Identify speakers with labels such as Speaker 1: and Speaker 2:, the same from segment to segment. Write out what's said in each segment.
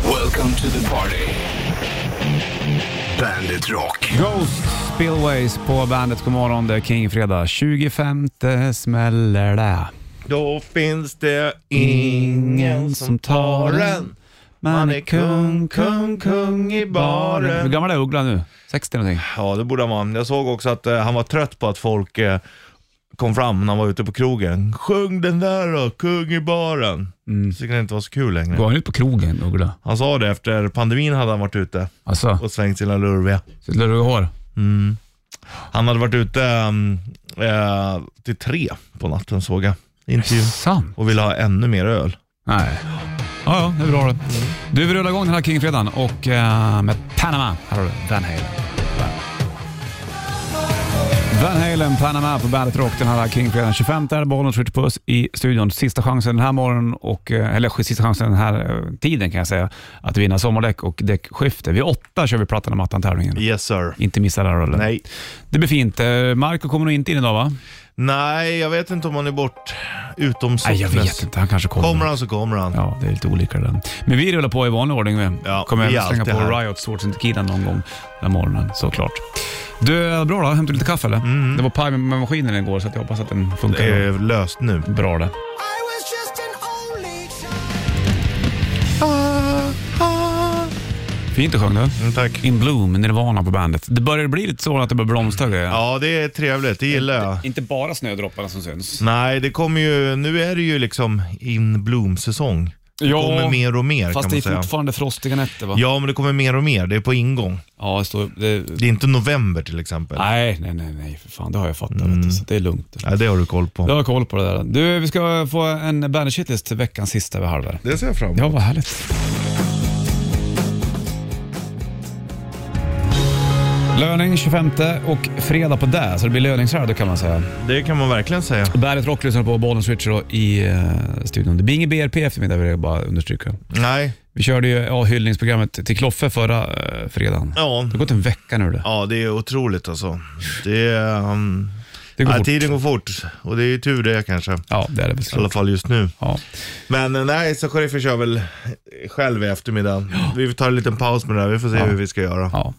Speaker 1: Welcome to the party. Bandit Rock.
Speaker 2: Ghost Spillways på bandet. God morgon, det är King-fredag. 25 smäller det.
Speaker 3: Då finns det ingen som tar en
Speaker 2: Man är kung, kung, kung i baren. Hur gammal är Uggla nu? 60 någonting?
Speaker 3: Ja, det borde han vara. Jag såg också att eh, han var trött på att folk eh, kom fram när han var ute på krogen. Sjung den där då, kung i baren. Så det kan inte vara så kul längre.
Speaker 2: Går han ut på krogen, Uggla?
Speaker 3: Han sa det efter pandemin hade han varit ute
Speaker 2: Alltså,
Speaker 3: och svängt sina lurviga.
Speaker 2: sitter du i hår?
Speaker 3: Han hade varit ute mm, eh, till tre på natten såg jag. Intervju.
Speaker 2: Sant?
Speaker 3: Och ville ha ännu mer öl.
Speaker 2: Nej. Ja, ja, det är bra det. Du, vi rullar igång den här King-fredagen och eh, med Panama. Här har du Van Halen. Van Halen, Panama på Bandet Rock den här King-fredagen. 25 är det, Bollnäs Ritchie Puss i studion. Sista chansen den här morgonen, och, eh, eller sista chansen den här eh, tiden kan jag säga, att vinna sommardäck och däckskifte. Vid åtta kör vi Plattan och mattan-tävlingen.
Speaker 3: Yes sir.
Speaker 2: Inte missa den här rullen.
Speaker 3: Nej.
Speaker 2: Det blir fint. Eh, Marco kommer nog inte in idag va?
Speaker 3: Nej, jag vet inte om han är bort utom
Speaker 2: Nej, jag
Speaker 3: Socknes.
Speaker 2: vet inte. Han kanske kommer.
Speaker 3: Kommer han så kommer han.
Speaker 2: Ja, det är lite olika det där. Men vi rullar på i vanlig ordning. Vi
Speaker 3: Ja,
Speaker 2: kommer
Speaker 3: vi är
Speaker 2: även slänga på
Speaker 3: alltid här.
Speaker 2: Riot Swords and Tequila någon gång den morgonen, såklart. Du, bra då. Hämtade du lite kaffe eller? Det var paj med med maskinen igår så att jag hoppas att den funkar.
Speaker 3: Mm. Det är Eh, löst nu.
Speaker 2: Bra det. Fint att sjunga du.
Speaker 3: Mm, tack.
Speaker 2: In Bloom, Nirvana på bandet. Det börjar bli lite så att det börjar blomstra grejer.
Speaker 3: Ja, det är trevligt. Det gillar jag.
Speaker 2: Inte bara snödropparna som syns.
Speaker 3: Nej, det kommer ju, nu är det ju liksom in bloom-säsong. Det
Speaker 2: Ja,
Speaker 3: kommer mer och mer
Speaker 2: Fast
Speaker 3: kan
Speaker 2: det är
Speaker 3: man säga.
Speaker 2: fortfarande frostiga nätter va?
Speaker 3: Ja, men det kommer mer och mer. Det är på ingång.
Speaker 2: ja det står, det,
Speaker 3: Det är inte november till exempel. Nej,
Speaker 2: nej, nej, nej, nej, för fan. Det har jag fattat. Vet du,
Speaker 3: Mm.
Speaker 2: så det är lugnt.
Speaker 3: det har du koll
Speaker 2: Jag
Speaker 3: på.
Speaker 2: har koll på det där. Du, vi ska få en bandage shitlist till veckans sista vid halv.
Speaker 3: Det ser jag fram
Speaker 2: Ja, vad härligt. Löning 25 och fredag på det, så det blir löningshelg kan man säga.
Speaker 3: Det kan man verkligen säga.
Speaker 2: Bandet Rock lyssnar på Bollens Switcher i eh, studion. Det blir ingen BRP eftermiddag vill jag bara understryka.
Speaker 3: Nej,
Speaker 2: Vi körde ju ja, hyllningsprogrammet till Kloffe förra eh, fredagen.
Speaker 3: ja.
Speaker 2: Det har gått en vecka nu det.
Speaker 3: Ja, det är otroligt alltså. Det är, um,
Speaker 2: Det går
Speaker 3: nej,
Speaker 2: fort.
Speaker 3: tiden går fort och det är ju tur det kanske. I
Speaker 2: Ja, det är det väl
Speaker 3: alla
Speaker 2: såklart.
Speaker 3: fall just nu.
Speaker 2: Ja.
Speaker 3: Men eh, nej, så sheriffen kör väl själv i eftermiddag. Vi tar en liten paus med det här. Vi får se hur vi ska göra.
Speaker 2: ja.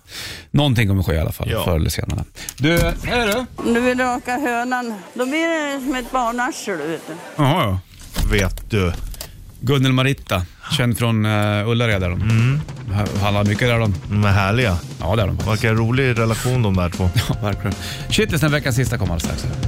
Speaker 2: Någonting kommer ske i alla fall,
Speaker 3: Ja.
Speaker 2: förr eller senare. Du, är du?
Speaker 4: Om du vill raka hönan, då blir det som ett barnarsel. vet du.
Speaker 2: Jaha, ja.
Speaker 3: Vet du.
Speaker 2: Gunnel Maritta, känd från uh, Ullared är de. Mm. Handlar mycket där de.
Speaker 3: De är härliga.
Speaker 2: Ja, det är de faktiskt.
Speaker 3: Vilken rolig relation de där två.
Speaker 2: Ja, verkligen. Shitlist den veckans sista kommer alldeles strax.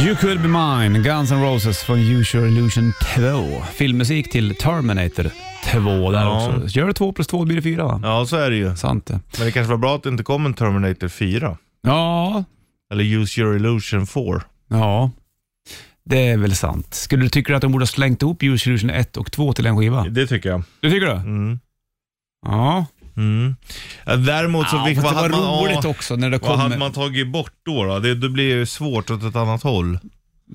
Speaker 2: You could be mine, Guns N' Roses från Use Your Illusion 2. Filmmusik till Terminator 2 där
Speaker 3: Ja.
Speaker 2: också. Gör det 2 plus 2 blir det 4 va?
Speaker 3: Ja, så är det ju.
Speaker 2: Sant det.
Speaker 3: Men det kanske var bra att det inte kom en Terminator 4.
Speaker 2: Ja,
Speaker 3: Eller Use Your Illusion 4.
Speaker 2: ja. Det är väl sant. Skulle du tycka att de borde ha slängt ihop Use Your Illusion 1 och 2 till en skiva?
Speaker 3: Det tycker jag.
Speaker 2: Du tycker det?
Speaker 3: Mm.
Speaker 2: Ja.
Speaker 3: Mm. Ja, Däremot så...
Speaker 2: Ja,
Speaker 3: vilka-
Speaker 2: fast
Speaker 3: vad
Speaker 2: det var
Speaker 3: hade man-
Speaker 2: roligt
Speaker 3: ja,
Speaker 2: också när det
Speaker 3: Vad hade
Speaker 2: kom...
Speaker 3: man tagit bort då? då? Det, det blir ju svårt åt ett annat håll.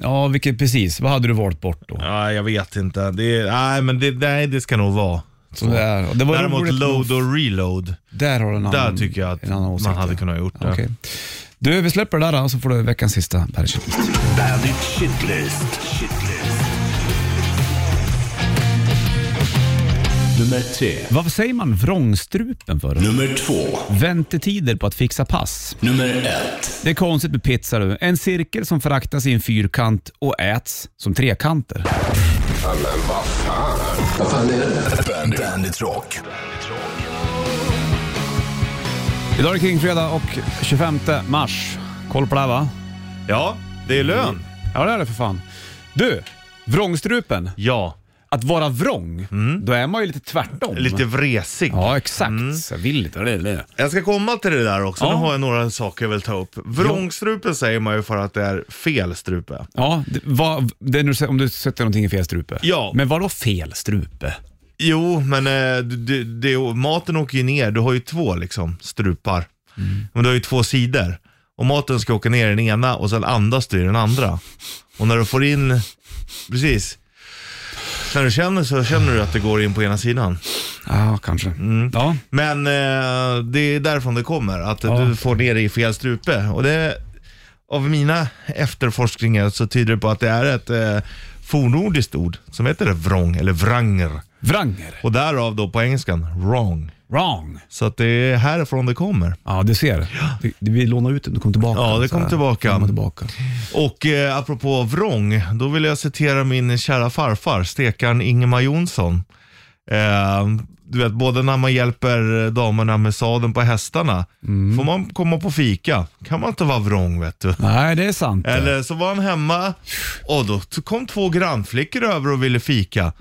Speaker 2: Ja, vilket, precis. Vad hade du valt bort då?
Speaker 3: Ja, jag vet inte. Det, nej, men det, nej, det ska nog vara.
Speaker 2: Så där. Och Det var
Speaker 3: Däremot
Speaker 2: roligt nog-
Speaker 3: load och reload.
Speaker 2: Där har du en annan
Speaker 3: Där tycker jag att
Speaker 2: en annan åsikt,
Speaker 3: man hade
Speaker 2: ja.
Speaker 3: kunnat gjort det.
Speaker 2: Ja, okej. Du, vi släpper det där då, så får du veckans sista Bandit Shitlist.
Speaker 1: Bandit Shitlist. Shitlist. Nummer tre.
Speaker 2: Varför säger man vrångstrupen för?
Speaker 1: Nummer två.
Speaker 2: Väntetider på att fixa pass.
Speaker 1: Nummer ett.
Speaker 2: Det är konstigt med pizza du. En cirkel som fraktas i en fyrkant och äts som trekanter.
Speaker 1: Bandit, Bandit Rock.
Speaker 2: Idag är det Kingfredag och 25 mars. Koll på det här va?
Speaker 3: Ja, det är
Speaker 2: Mm.
Speaker 3: lön.
Speaker 2: Ja, det är det för fan. Du, vrångstrupen.
Speaker 3: Ja,
Speaker 2: Att vara vrång, då är man ju lite tvärtom.
Speaker 3: Mm. lite Mm. vresig.
Speaker 2: Ja, exakt. Jag vill lite. Det, det.
Speaker 3: Jag ska komma till det där också.
Speaker 2: Ja.
Speaker 3: Nu har jag några saker jag vill ta upp. Vrångstrupe säger man ju för att det är fel strupe.
Speaker 2: Ja, det, vad, det är när du, sä- om du sätter någonting i fel strupe.
Speaker 3: Ja.
Speaker 2: Men vadå fel strupe?
Speaker 3: Jo, men eh, det, det, maten åker ju ner. Du har ju två liksom, strupar.
Speaker 2: Mm.
Speaker 3: Men du har ju två sidor. Och maten ska åka ner i den ena och sen andas du i den andra. Och när du får in, precis. När du känner så känner du att det går in på ena sidan.
Speaker 2: Ja, kanske.
Speaker 3: Mm.
Speaker 2: Ja.
Speaker 3: Men eh, det är därifrån det kommer, att du får ner det i fel strupe. Och det, av mina efterforskningar så tyder det på att det är ett eh, fornordiskt ord som heter vrång eller vranger.
Speaker 2: Wranger.
Speaker 3: Och därav då på engelskan wrong.
Speaker 2: Wrong.
Speaker 3: Så att det är härifrån det kommer.
Speaker 2: Ja, du ser. Det, det, vi lånar ut den, det kommer tillbaka.
Speaker 3: Ja, det
Speaker 2: Så här.
Speaker 3: kommer tillbaka.
Speaker 2: Det kommer tillbaka.
Speaker 3: Och eh, apropå vrång, då vill jag citera min kära farfar, stekaren Ingemar Jonsson. Eh, du vet, både när man hjälper damerna med sadeln på hästarna, får man komma på fika. Kan man inte vara vrång vet du.
Speaker 2: Nej, det är sant.
Speaker 3: Eller så var han hemma och då t- kom två grannflickor över och ville fika.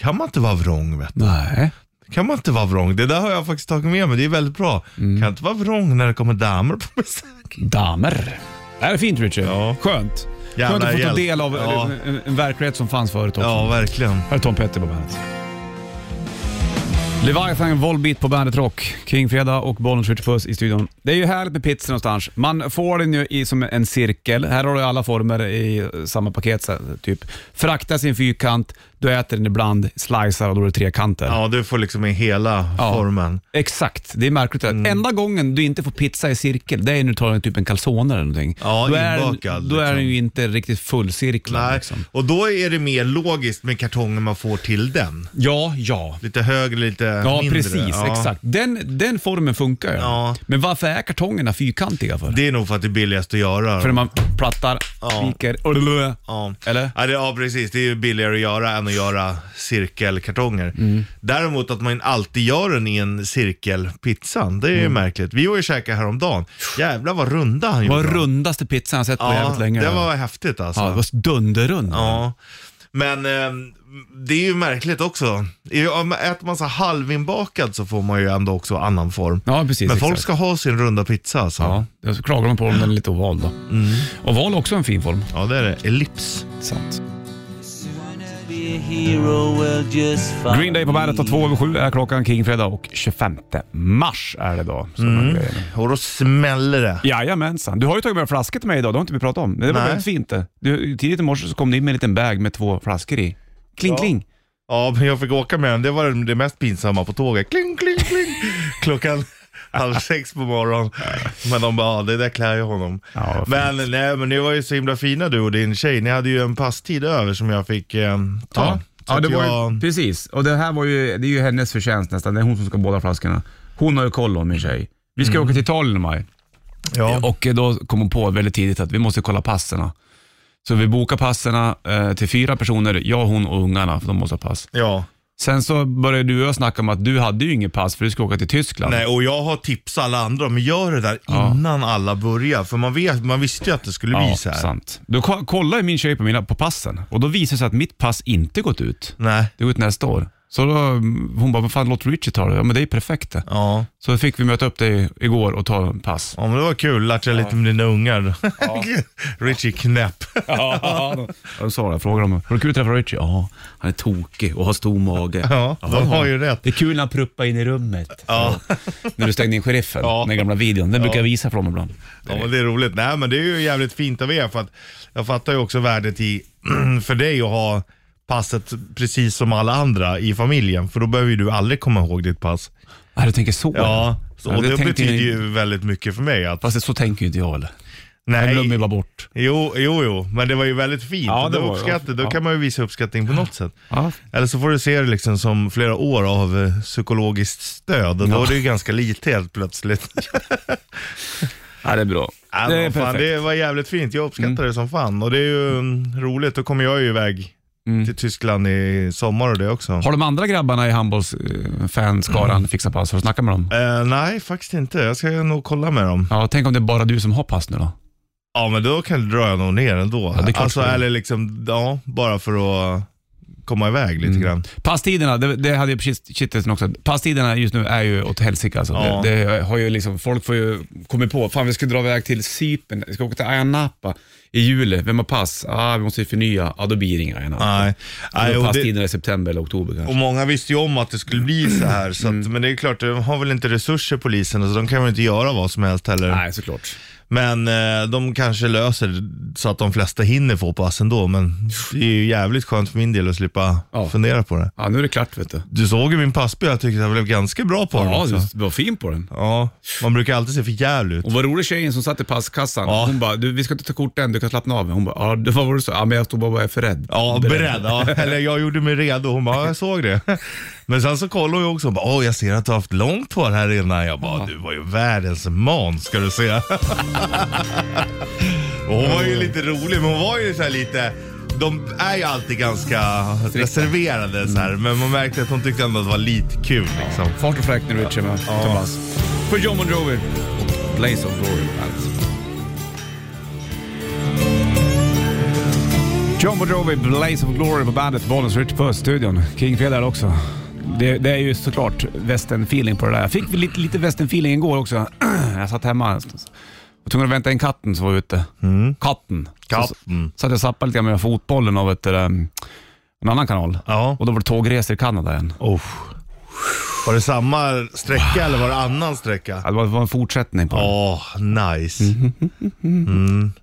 Speaker 3: Kan man inte vara vrång vet du.
Speaker 2: Nej.
Speaker 3: Kan man inte vara vrång? Det där har jag faktiskt tagit med mig, det är väldigt bra. Kan inte vara vrång när det kommer damer på besök.
Speaker 2: Damer. Det här är fint Richard.
Speaker 3: Ja.
Speaker 2: Skönt.
Speaker 3: Jävla
Speaker 2: Skönt att få ta
Speaker 3: hjälp.
Speaker 2: del av
Speaker 3: Ja.
Speaker 2: en, en, en verklighet som fanns förut också.
Speaker 3: Ja, verkligen.
Speaker 2: Här är Tom Petty på bandet. Leviathan Volbeat på Bandet Rock. King Freda och Bollen skjuter puss i studion. Det är ju härligt med pizza någonstans. Man får den ju i, som en cirkel. Här har du alla former i samma paket. så här, Typ. Fraktas i en fyrkant, du äter den ibland, slicear och då är det trekanter.
Speaker 3: Ja, du får liksom i hela
Speaker 2: Ja.
Speaker 3: formen.
Speaker 2: Exakt, det är märkligt. Mm. Enda gången du inte får pizza i cirkel, det är när du tar en, typ en calzone eller någonting.
Speaker 3: Ja,
Speaker 2: då är,
Speaker 3: inbakad,
Speaker 2: den, då är den
Speaker 3: liksom.
Speaker 2: ju inte riktigt fullcirklad.
Speaker 3: Nej,
Speaker 2: Liksom.
Speaker 3: och då är det mer logiskt med kartongen man får till den.
Speaker 2: Ja, ja.
Speaker 3: Lite högre, lite
Speaker 2: Ja,
Speaker 3: mindre.
Speaker 2: precis. Exakt. Den, den formen funkar ju.
Speaker 3: Ja.
Speaker 2: Men varför är kartongerna fyrkantiga för?
Speaker 3: Det är nog för att det är billigast att göra.
Speaker 2: För när man plattar, viker, ja.
Speaker 3: Ja.
Speaker 2: Eller?
Speaker 3: Ja, det, ja, precis. Det är ju billigare att göra än att göra cirkelkartonger.
Speaker 2: Mm.
Speaker 3: Däremot att man alltid gör den i en cirkel, pizzan, det är ju
Speaker 2: Mm.
Speaker 3: märkligt. Vi var ju och käkade häromdagen. Jävlar vad runda han
Speaker 2: Det var
Speaker 3: gjorde.
Speaker 2: rundaste pizzan jag sett på
Speaker 3: ja,
Speaker 2: jävligt länge.
Speaker 3: det var häftigt alltså.
Speaker 2: ja, det var dunderrund.
Speaker 3: Ja, men eh, det är ju märkligt också. I- om- Äter man så halvinbakad så får man ju ändå också annan form.
Speaker 2: Ja, precis.
Speaker 3: men folk
Speaker 2: exakt.
Speaker 3: ska ha sin runda pizza alltså. Ja,
Speaker 2: Ja, då klagar de på om den är lite oval då.
Speaker 3: Mm.
Speaker 2: Oval är också en fin form.
Speaker 3: det är det. Ellips.
Speaker 2: Sant.
Speaker 5: Be a hero, well just fine.
Speaker 2: Green Day på bandet och två över sju är klockan kring fredag och 25 mars är det då. som de grejerna.
Speaker 3: Och då smäller det.
Speaker 2: Mm. Jajamensan. Du har ju tagit med en flaska till mig idag, det har inte vi pratat om. Det var
Speaker 3: Nej.
Speaker 2: väldigt fint det. Du, tidigt i morse så kom du in med en liten bag med två flaskor i. Kling kling.
Speaker 3: Ja, men jag fick åka med den. Det var det- det mest pinsamma på tåget. Kling, kling, kling. Klockan halv sex på morgonen. Men de bara, ja, det där klär ju honom.
Speaker 2: Ja, vad
Speaker 3: men nej, men ni var ju så himla fina du och din tjej. Ni hade ju en passtid över som jag fick eh, ta. Så
Speaker 2: ja det
Speaker 3: att
Speaker 2: var
Speaker 3: jag-
Speaker 2: ju, precis. Och det här var ju, det är ju hennes förtjänst nästan. Det är hon som ska båda flaskorna. Hon har ju koll om min tjej. Vi ska åka till Italien i maj.
Speaker 3: ja.
Speaker 2: Och eh, då kom hon på väldigt tidigt att vi måste kolla passerna. Så vi bokar passerna eh, till fyra personer, jag, hon och ungarna, för de måste ha pass.
Speaker 3: ja.
Speaker 2: Sen så började du och jag snacka om att du hade ju inget pass för du skulle åka till Tyskland.
Speaker 3: Nej, och jag har tipsat alla andra, men gör det där innan alla börjar. För man, vet, man visste ju att det skulle bli
Speaker 2: Ja,
Speaker 3: så här.
Speaker 2: sant. Då ko- kollade min tjej på, mina, på passen och då visade det sig att mitt pass inte gått ut.
Speaker 3: Nej.
Speaker 2: Det går ut nästa år. Så då, mm, hon bara, vad fan låt Richie ta det. Ja men det är ju perfekt det.
Speaker 3: Ja.
Speaker 2: Så fick vi möta upp dig igår och ta en pass.
Speaker 3: ja, men det var kul. Lärt sig lite med dina ungar. Richie knäpp.
Speaker 2: Ja, de sa det. Jag frågade dem, var det kul att träffa Richie? Ja, han är tokig och har stor mage.
Speaker 3: Ja, de har ju rätt.
Speaker 2: Det är kul när han pruppar in i rummet.
Speaker 3: Ja.
Speaker 2: Så, När du stängde in sheriffen,
Speaker 3: Ja.
Speaker 2: den gamla videon. Den brukar jag visa för dem ibland.
Speaker 3: Ja, men det är roligt. Nej, men det är ju jävligt fint av er för att jag fattar ju också värdet i, för dig att ha passet precis som alla andra i familjen. För då behöver ju du aldrig komma ihåg ditt pass.
Speaker 2: Ja, du tänker så?
Speaker 3: Ja, så, och det,
Speaker 2: tänkte
Speaker 3: betyder
Speaker 2: jag-
Speaker 3: ju väldigt mycket för mig. Att,
Speaker 2: Fast det- så tänker ju inte jag eller? Jag
Speaker 3: nej,
Speaker 2: glömmer ju bara bort.
Speaker 3: Jo, jo, jo, men det var ju väldigt fint.
Speaker 2: Ja,
Speaker 3: Ja,
Speaker 2: det
Speaker 3: det
Speaker 2: var-
Speaker 3: uppskattar, då
Speaker 2: ja.
Speaker 3: kan man ju visa uppskattning på något sätt.
Speaker 2: Ja.
Speaker 3: Eller så får du se det liksom som flera år av eh, psykologiskt stöd och då
Speaker 2: Ja.
Speaker 3: är det ju ganska lite helt plötsligt.
Speaker 2: ja, det är bra.
Speaker 3: Ja,
Speaker 2: det är
Speaker 3: men fan,
Speaker 2: perfekt. Mm.
Speaker 3: det var jävligt fint, jag uppskattar det som fan och det är ju mm, roligt. Då kommer jag ju iväg till Tyskland i sommar och det också.
Speaker 2: Mm. Har de andra grabbarna i handbollsfanskaran
Speaker 3: Mm.
Speaker 2: fixat pass? Har du snackat med dem?
Speaker 3: Eh, nej, faktiskt inte. Jag ska nog kolla med dem.
Speaker 2: Ja, tänk om det är bara du som har pass nu då?
Speaker 3: Ja, men då kan drar jag nog ner ändå.
Speaker 2: Ja, det är klart
Speaker 3: alltså,
Speaker 2: för det.
Speaker 3: eller liksom, ja, bara för att komma iväg
Speaker 2: Mm.
Speaker 3: lite grann.
Speaker 2: Passtiderna, det, det hade jag precis kittelsen också. Passtiderna just nu är ju åt helsike alltså.
Speaker 3: Ja.
Speaker 2: Det, det har ju liksom, folk får ju kommit på, fan vi ska dra iväg till Cypern, vi ska åka till Ayia Napa i juli, vem har pass? Ah, vi måste ju förnya, ja då blir det inga Ayia Napa.
Speaker 3: Nej, nej
Speaker 2: Då
Speaker 3: och det, Oh.
Speaker 2: Passtiderna i september eller oktober kanske.
Speaker 3: Och många visste ju om att det skulle bli så här,
Speaker 2: Mm.
Speaker 3: så att, men det är klart, de har väl inte resurser polisen, så de kan väl inte göra vad som helst heller.
Speaker 2: Nej, såklart.
Speaker 3: Men eh, de kanske löser så att de flesta hinner få pass ändå. Men det är ju jävligt skönt för min del att slippa
Speaker 2: Ja.
Speaker 3: fundera på det.
Speaker 2: Ja, nu är det klart vet du.
Speaker 3: Du såg ju min passbild, jag tyckte jag blev ganska bra på den
Speaker 2: Ja,
Speaker 3: också.
Speaker 2: du var fin på den.
Speaker 3: Ja, man brukar alltid se för jävligt ut.
Speaker 2: Och vad rolig tjejen som satt i passkassan.
Speaker 3: Ja.
Speaker 2: Hon bara, du, vi ska inte ta kort än, du kan slappna av. Hon bara, ja, det- vad var det du sa? Ja, men jag stod bara och var för rädd.
Speaker 3: Ja, beredd. Ja. Eller jag gjorde mig redo. Hon bara, ja, jag såg det. Men sen så kollade hon ju också. Hon bara, åh jag ser att du har haft långt hår här innan. Jag bara, du var ju världens man ska du se. Och hon var ju lite rolig, men hon var ju så här lite... De är ju alltid ganska reserverade så här,
Speaker 2: Mm.
Speaker 3: men man märkte att hon tyckte ändå att det var lite kul liksom.
Speaker 2: Fart och fläkt nu Richie med Thomas. För John Bon Jovi och Blaze of Glory alltså. på bandet. John Bon Jovi, Blaze of Glory på bandet, Bollnäs Rich på studion. Kingfredag också. Det, det är ju såklart western-feeling på det där. Jag fick väl lite, lite western-feeling igår också. jag satt hemma och var tvungen att vänta in katten som var ute.
Speaker 3: Mm.
Speaker 2: Katten. Så,
Speaker 3: Katten.
Speaker 2: så att jag zappade lite grann med fotbollen av ett, um, en annan kanal.
Speaker 3: Ja.
Speaker 2: Och då var det tågresor i Kanada igen.
Speaker 3: Oh. Var det samma sträcka eller var det annan sträcka?
Speaker 2: Ja, Mm. Det var- det var en fortsättning på det.
Speaker 3: Åh, nice.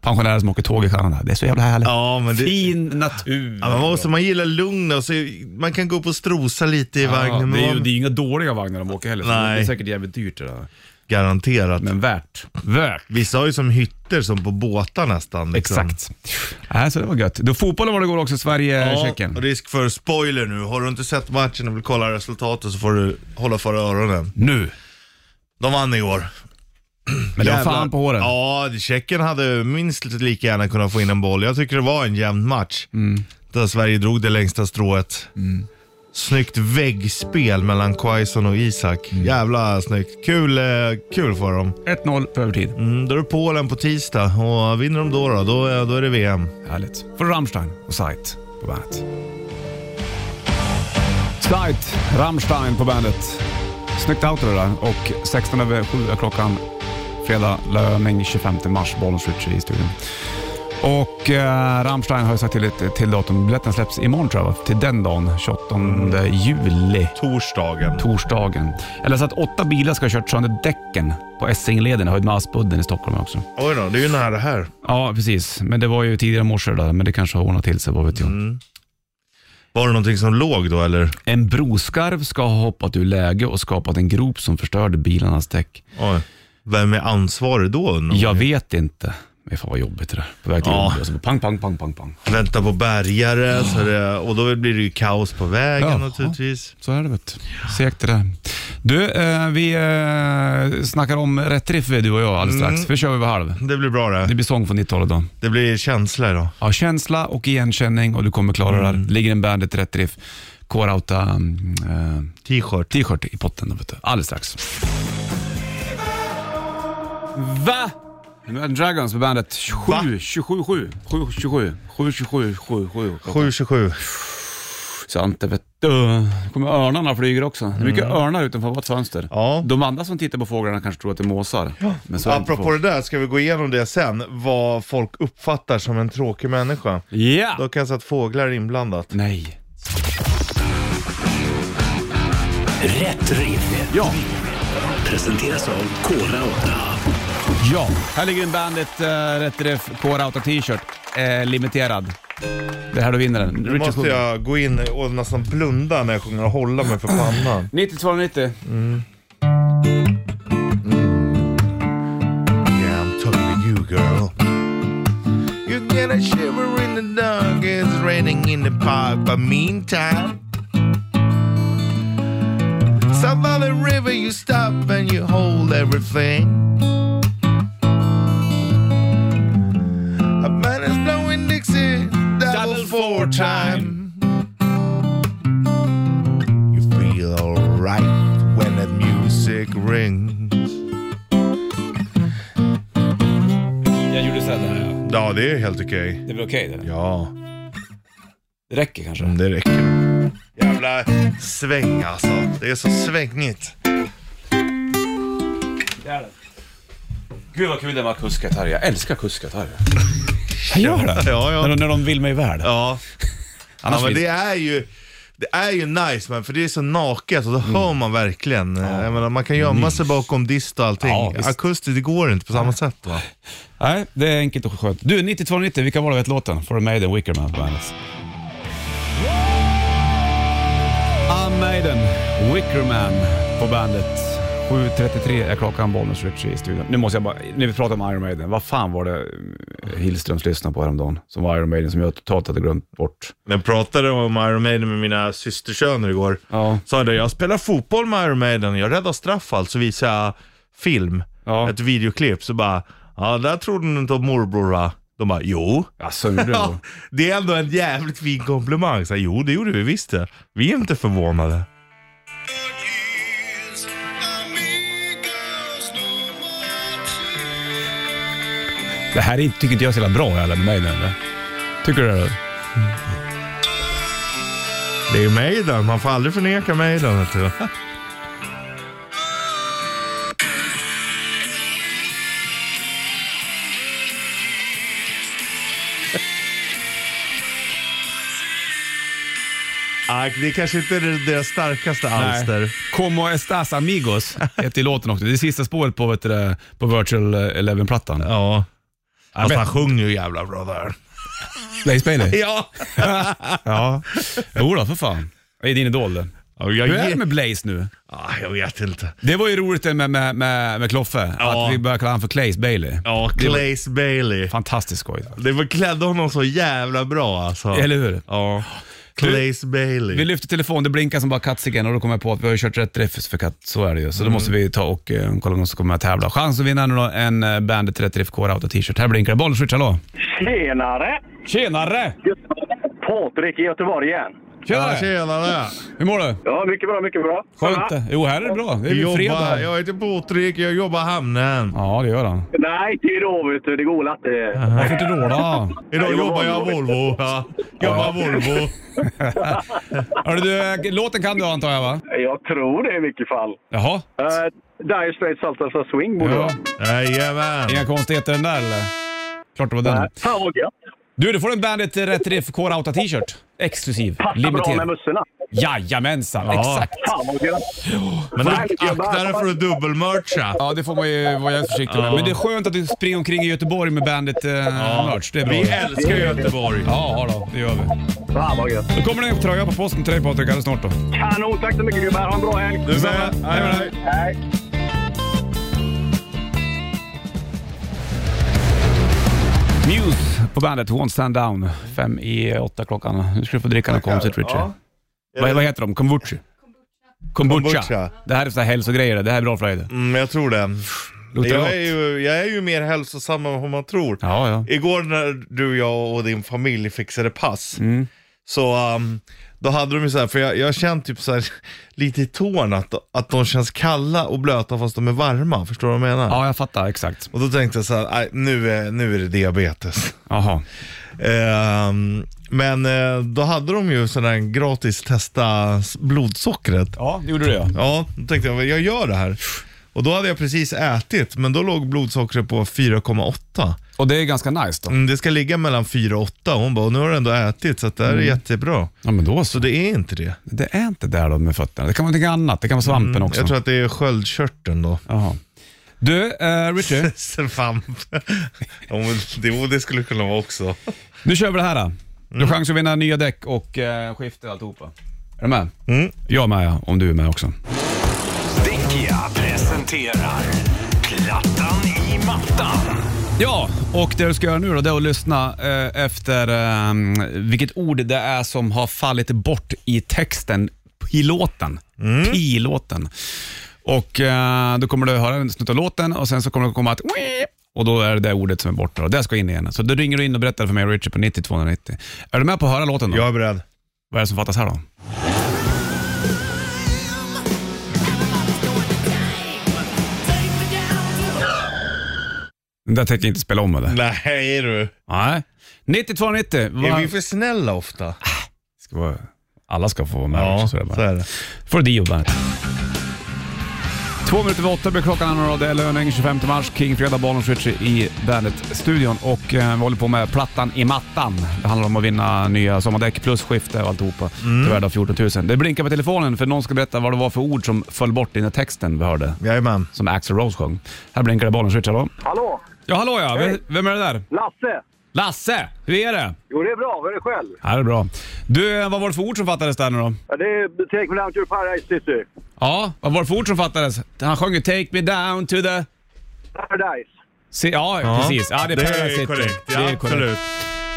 Speaker 2: pensionärer som åker tåg i Kanada. Det är så jävla härligt.
Speaker 3: Ja, men det,
Speaker 2: Fin natur.
Speaker 3: Ja, man, måste, man gillar lugn och så, man kan gå upp och strosa lite i vagnen.
Speaker 2: det, är ju,
Speaker 3: man,
Speaker 2: det är ju inga dåliga vagnar de åker heller, så
Speaker 3: Nej.
Speaker 2: det är säkert jävligt dyrt det där.
Speaker 3: Garanterat.
Speaker 2: Men värt. Värt.
Speaker 3: Vissa har ju som hytter som på båtar nästan. liksom.
Speaker 2: Exakt. Äh, så det var gött. Då fotbollen var det igår också,
Speaker 3: Ja,
Speaker 2: Sverige-Tjeckien.
Speaker 3: risk för spoiler nu. Har du inte sett matchen och vill kolla resultatet så får du hålla för öronen.
Speaker 2: Nu.
Speaker 3: De vann igår.
Speaker 2: Men det var
Speaker 3: Jävlar.
Speaker 2: fan på håren.
Speaker 3: Ja, Tjeckien hade minst lika gärna kunnat få in en boll. Jag tycker det var en jämn match.
Speaker 2: Mm.
Speaker 3: Där Sverige drog det längsta strået. Snyggt väggspel mellan Quaison och Isak.
Speaker 2: Mm.
Speaker 3: Jävla snyggt. Kul, eh, kul för dem.
Speaker 2: 1-0 på övertid.
Speaker 3: Mm, då är det Polen på tisdag och vinner de då, då, då, är- då är det VM.
Speaker 2: Härligt. För Rammstein och Sight på bandet. Sight, Rammstein på bandet. Snyggt outro det där. Och 16 över 7 är klockan. Fredag, löning 25 mars, Bollnäs Ritchie i studion. Och eh, Rammstein har ju sagt till ett till datum. Biljetten släpps imorgon tror jag, va? till den dagen, 28 juli.
Speaker 3: Torsdagen.
Speaker 2: Torsdagen. Eller så att åtta bilar ska ha kört sönder däcken på Essingleden, höjd med Aspudden i Stockholm också.
Speaker 3: Oj då, det är ju nära här.
Speaker 2: Ja, precis. Men det var ju tidigare i morse det där, men det kanske har ordnat till sig, vad vet jag.
Speaker 3: Var det någonting som låg då eller?
Speaker 2: En broskarv ska ha hoppat ur läge och skapat en grop som förstörde bilarnas däck.
Speaker 3: Oj. Vem är ansvarig då? undrar man
Speaker 2: Jag
Speaker 3: ju.
Speaker 2: vet inte. Men fan vad jobbigt det där. På väg till
Speaker 3: Ja.
Speaker 2: jobbet och så bara pang, pang, pang, pang, pang.
Speaker 3: Vänta på bärgare så det, och då blir det ju kaos på vägen
Speaker 2: Ja.
Speaker 3: naturligtvis.
Speaker 2: Så är det vet du. Segt det där. Du, eh, vi eh, snackar om rätt riff du och jag alldeles strax.
Speaker 3: Mm.
Speaker 2: För vi kör över halv.
Speaker 3: Det blir bra
Speaker 2: Det
Speaker 3: det.
Speaker 2: blir sång från 90-talet då.
Speaker 3: Det blir känsla idag.
Speaker 2: Ja, känsla och igenkänning och du kommer klara det här. Ligger en bandet rätt riff. Kårauta mm, eh,
Speaker 3: T-shirt.
Speaker 2: t-shirt i potten då vet du. Alldeles strax. Va? Nu är Dragons på bandet. 7,
Speaker 3: Va?
Speaker 2: 27, 7, 7, 27, 7, 27, 7, 7.
Speaker 3: 727.
Speaker 2: Svante vet du. Nu kommer örnarna flyger också. Det är mycket örnar utanför vårt fönster.
Speaker 3: Ja.
Speaker 2: De andra som tittar på fåglarna kanske tror att det är måsar. Men så är det inte
Speaker 3: Apropå det där, ska vi gå igenom det sen. Vad folk uppfattar som en tråkig människa.
Speaker 2: på- Ja!
Speaker 3: Då kan jag säga att fåglar är inblandat.
Speaker 2: Nej.
Speaker 1: Rätt riff.
Speaker 2: Ja,
Speaker 1: Presenteras av Kora 8.
Speaker 2: ja. Här ligger en bandet uh, Rätt Riff K-Rauta T-shirt. Eh, limiterad. Det är här du vinner den.
Speaker 3: Nu måste
Speaker 2: Richard
Speaker 3: jag gå in och nästan blunda när jag sjunger och hålla mig för pannan.
Speaker 2: 9290.
Speaker 3: Yeah, I'm talking to you, girl. You get a shiver in the dark, it's raining in the park, but meantime. South Valley River, you stop and you hold everything. A man is blowing Dixie, double four time. You feel alright when the music rings.
Speaker 2: Jag gjorde sådär ja.
Speaker 3: Ja, det är helt okej.
Speaker 2: Det är väl okej det?
Speaker 3: Ja,
Speaker 2: Det räcker kanske.
Speaker 3: det räcker. Jävla sväng alltså. Det är så svängigt.
Speaker 2: Gud vad kul det var att kuska gitarr. Jag älskar kuska gitarr. Jag gör det.
Speaker 3: Ja, ja.
Speaker 2: När, de- när de vill mig väl.
Speaker 3: Ja,
Speaker 2: Annars
Speaker 3: ja men
Speaker 2: finns-
Speaker 3: det är ju... Det är ju nice man, för det är så naket och då
Speaker 2: Mm.
Speaker 3: hör man verkligen. eh, Jag menar, man kan gömma sig bakom dist och allting.
Speaker 2: Ja, visst.
Speaker 3: Akustiskt, det går inte på samma sätt va.
Speaker 2: Nej, det är enkelt och skönt. Du, 9290, vilka var det vet låten? For a Maiden, Wickerman på bandet. Unmaiden, Wickerman på bandet. 7.33 är klockan, Bollnäs Richie i studion. Nu måste jag bara, när vi pratar om Iron Maiden, vad fan var det eh, Hillströms lyssnade på häromdagen som var Iron Maiden som jag totalt hade glömt bort?
Speaker 3: När jag pratade om Iron Maiden med mina systersöner igår,
Speaker 2: Ja.
Speaker 3: sa jag det, jag spelar fotboll med Iron Maiden, jag räddar straff alltså, visade jag film,
Speaker 2: Ja.
Speaker 3: ett videoklipp, så bara, ja där trodde ni inte om morbror va? De bara, jo.
Speaker 2: Jaså, gjorde du det då?
Speaker 3: Ja, det är ändå en jävligt fin komplimang. Så här, jo, det gjorde vi visst det. Vi är inte förvånade.
Speaker 2: Det här är, tycker inte jag är så jävla bra heller med Maiden. eller? Tycker du det?
Speaker 3: Det är ju Maiden, man får aldrig förneka Maiden. vet du. Ah, Det kanske inte är deras starkaste alster.
Speaker 2: Como estas amigos heter låten också. Det är sista spåret på, vet du, det, på Virtual Eleven-plattan.
Speaker 3: Ja. Fast
Speaker 2: men-
Speaker 3: Alltså, han sjunger ju jävla bra där.
Speaker 2: Blaze Bailey?
Speaker 3: Ja.
Speaker 2: ja. Jodå, för fan. Det är din idol det.
Speaker 3: jag,
Speaker 2: Hur är det
Speaker 3: ge...
Speaker 2: med Blaze nu?
Speaker 3: ah, jag vet inte.
Speaker 2: Det var ju roligt det med, med, med, med Kloffe,
Speaker 3: Ja.
Speaker 2: att vi började kalla honom för Clays Bailey.
Speaker 3: Ja, Glaze Bailey.
Speaker 2: Fantastiskt skoj.
Speaker 3: Det var klädde honom så jävla bra alltså.
Speaker 2: Eller hur?
Speaker 3: Ja. Claes Bailey.
Speaker 2: Vi lyfter telefonen, det blinkar som bara kattsigen och då kommer jag på att vi har ju kört rätt riff för katt, så är det ju. Så då måste vi ta och eh, kolla om någon som kommer att tävla. Chans att vinna nu då en eh, Bandet Rätt Riff Core Auto t-shirt. Här blinkar det. Bollswitch, hallå!
Speaker 6: Tjenare!
Speaker 2: Tjenare!
Speaker 6: Patrik i Göteborg igen.
Speaker 3: Ja,
Speaker 2: Tjenare!
Speaker 3: tjenare!
Speaker 2: Hur mår du?
Speaker 6: Ja, mycket bra, mycket bra.
Speaker 2: Skönt
Speaker 6: Ja.
Speaker 2: det. Jo, här är det bra. Det är
Speaker 3: Jag
Speaker 2: ju
Speaker 3: jobbar,
Speaker 2: fredag.
Speaker 3: jag heter Patrik, jag jobbar i hamnen.
Speaker 2: Ja, det gör han.
Speaker 6: Nej, inte idag vet du. Det går Eh, väl inte.
Speaker 2: Varför inte råla?
Speaker 3: Idag
Speaker 6: Jag
Speaker 3: jobbar
Speaker 6: jobbar
Speaker 3: jag Volvo. Ja. Jobbar Volvo.
Speaker 2: Hörru du, eh, låten kan du antar jag va?
Speaker 6: Jag tror det i vilket fall.
Speaker 2: Jaha?
Speaker 6: Uh, Dire Straits Saltas of Swing borde
Speaker 2: Ja.
Speaker 6: vara.
Speaker 3: Jajamän.
Speaker 2: Inga konstigheter den där eller? Klart det var den.
Speaker 6: Nej, Eh, Fan vad gött.
Speaker 2: Du, du får en Bandet Rätt Riff Core Auta t-shirt. Exklusiv.
Speaker 6: Passar bra med
Speaker 2: Limiterad.
Speaker 6: mössorna.
Speaker 2: Jajamensan,
Speaker 3: Ja.
Speaker 2: exakt.
Speaker 6: Fan vad gött.
Speaker 3: Men ak-
Speaker 6: Verkligen,
Speaker 3: akta dig för att dubbelmercha.
Speaker 2: Ja, det får man ju vara jävligt försiktig med.
Speaker 3: Ja.
Speaker 2: Men det är skönt att du springer omkring i Göteborg med Bandet eh, merch. Det är bra.
Speaker 3: Vi älskar Göteborg.
Speaker 2: Ja, ja då, det gör vi.
Speaker 6: Fan vad gött.
Speaker 2: Då kommer det en tröja på posten till dig Patrik alldeles snart då.
Speaker 6: Kanon. Tack så mycket gubbar. Ha en bra helg.
Speaker 3: Du med? Hej, hej.
Speaker 6: Hej.
Speaker 2: Muse på bandet, Won't Stand Down. Fem i åtta klockan. Nu ska du få dricka något konstigt Richie. Vad, vad heter de? Kombucha? Kombucha.
Speaker 3: Kombucha.
Speaker 2: Det här är så här hälsogrejer. Det här är bra för dig. det.
Speaker 3: Mm, jag tror det.
Speaker 2: Luktar
Speaker 3: Jag
Speaker 2: gott.
Speaker 3: är, ju, jag är ju mer hälsosam än vad man tror.
Speaker 2: Ja, ja.
Speaker 3: Igår när du, jag och din familj fixade pass, så um, då hade de ju så här, för jag, jag har känt typ så här, lite i tårn att, att de känns kalla och blöta fast de är varma. Förstår du vad jag menar?
Speaker 2: Ja, jag fattar. Exakt.
Speaker 3: Och då tänkte jag så här, "Nej, nu är, nu är det diabetes.
Speaker 2: Jaha.
Speaker 3: Ehm, men eh, då hade de ju sån här gratis testa s- blodsockret.
Speaker 2: Ja, det gjorde du ja.
Speaker 3: Ja, då tänkte jag, jag gör det här. Och då hade jag precis ätit, men då låg blodsockret på 4,8.
Speaker 2: Och det är ganska nice då.
Speaker 3: Mm, det ska ligga mellan 4 och 8. Hon bara, och nu har du ändå ätit så att det här är
Speaker 2: Mm.
Speaker 3: jättebra.
Speaker 2: Ja, men då
Speaker 3: Så
Speaker 2: så.
Speaker 3: det är inte det. Mm.
Speaker 2: Det är inte där då med fötterna. Det kan vara någonting annat. Det kan vara svampen också.
Speaker 3: Jag tror att det är sköldkörteln då.
Speaker 2: Jaha. Du, eh, Richie.
Speaker 3: Svamp. ja, men det, jo, det skulle kunna vara också.
Speaker 2: Nu kör vi det här. Då. Du har chans att vinna nya däck och eh, skifte och alltihopa. Är du med? Mm. Jag med ja, om du är med också.
Speaker 1: Däckia presenterar Plattan i mattan.
Speaker 2: Ja, och det du ska göra nu då, det är att lyssna eh, efter eh, vilket ord det är som har fallit bort i texten i låten. I låten. Och eh, då kommer du höra en snutt av låten och sen så kommer det komma att och då är det det ordet som är borta och det ska in igen. Så då ringer du in och berättar för mig och Richard på 90 290. Är du med på att höra låten då?
Speaker 3: Jag är beredd.
Speaker 2: Vad är det som fattas här då? Den där tänker jag inte spela om eller?
Speaker 3: Nej du.
Speaker 2: Nej. 9290.
Speaker 3: Är
Speaker 2: Va?
Speaker 3: vi för snälla ofta?
Speaker 2: Ska vara... Alla ska få vara med
Speaker 3: Ja,
Speaker 2: också. Så
Speaker 3: så
Speaker 2: är det
Speaker 3: är
Speaker 2: bara.
Speaker 3: det.
Speaker 2: Får Dio bandet. Två minuter över åtta blir klockan Anna Rad, det är löning 25 mars, King Fredag, Bollnäs Ritchie i Bandet-studion. Och eh, vi håller på med Plattan i mattan. Det handlar om att vinna nya sommardäck plus skifte och alltihopa. Det är värda 14 000. Det blinkar på telefonen för någon ska berätta vad det var för ord som föll bort i den här texten vi hörde.
Speaker 3: Jajamän.
Speaker 2: Som Axl Rose sjöng. Här blinkar det Bollnäs Ritchie, hallå?
Speaker 6: Hallå!
Speaker 2: Ja, hallå ja!
Speaker 6: Hej.
Speaker 2: Vem- Vem är det där?
Speaker 6: Lasse!
Speaker 2: Lasse! Hur är det?
Speaker 6: Jo, det är bra. Hur är det själv?
Speaker 2: Ja, det är bra. Du, eh, vad var det för ord som fattades där nu då?
Speaker 6: Ja, det är Take Me Down to Paradise City.
Speaker 2: Ja, vad var det för ord som fattades? Han sjöng ju “Take me down to the...”
Speaker 6: Paradise.
Speaker 2: Se, ja, precis. Ja, det är Paradise City.
Speaker 3: korrekt. Ja,
Speaker 2: Det är
Speaker 3: absolut.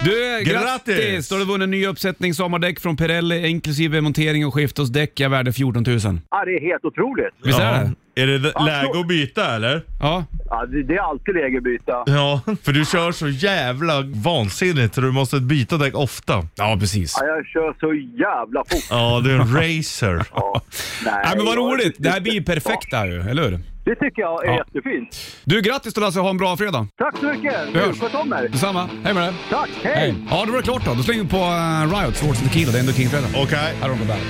Speaker 2: Du, grattis!
Speaker 3: Grattis!
Speaker 2: Då har du vunnit en ny uppsättning sommardäck från Pirelli inklusive montering och skift hos däck. Jag värde 14 000.
Speaker 6: Ja, det är helt otroligt.
Speaker 2: Visst är det?
Speaker 3: Är det d- läge att byta eller?
Speaker 2: Ja.
Speaker 6: Ja, det det är alltid läge att byta.
Speaker 3: Ja, för du kör så jävla vansinnigt så du måste byta däck ofta.
Speaker 2: Ja, precis.
Speaker 6: Ja, jag kör så jävla fort.
Speaker 3: Ja, du är en racer.
Speaker 6: Ja. Nej,
Speaker 2: Nej, men vad
Speaker 6: jag-
Speaker 2: roligt! Det här blir ju perfekt där ju, eller hur?
Speaker 6: Det tycker jag är
Speaker 2: Ja.
Speaker 6: jättefint.
Speaker 2: Du, grattis då Lasse, ha en bra fredag.
Speaker 6: Tack så mycket!
Speaker 2: Vi hörs.
Speaker 6: Sköt om er!
Speaker 2: Detsamma, hej med dig.
Speaker 6: Tack, hej.
Speaker 2: Ja, då var det klart då. Då slänger vi på uh, Riot, Swords and Tequila. Det är ändå King-fredag.
Speaker 3: Okej.
Speaker 2: Här har de på bandet.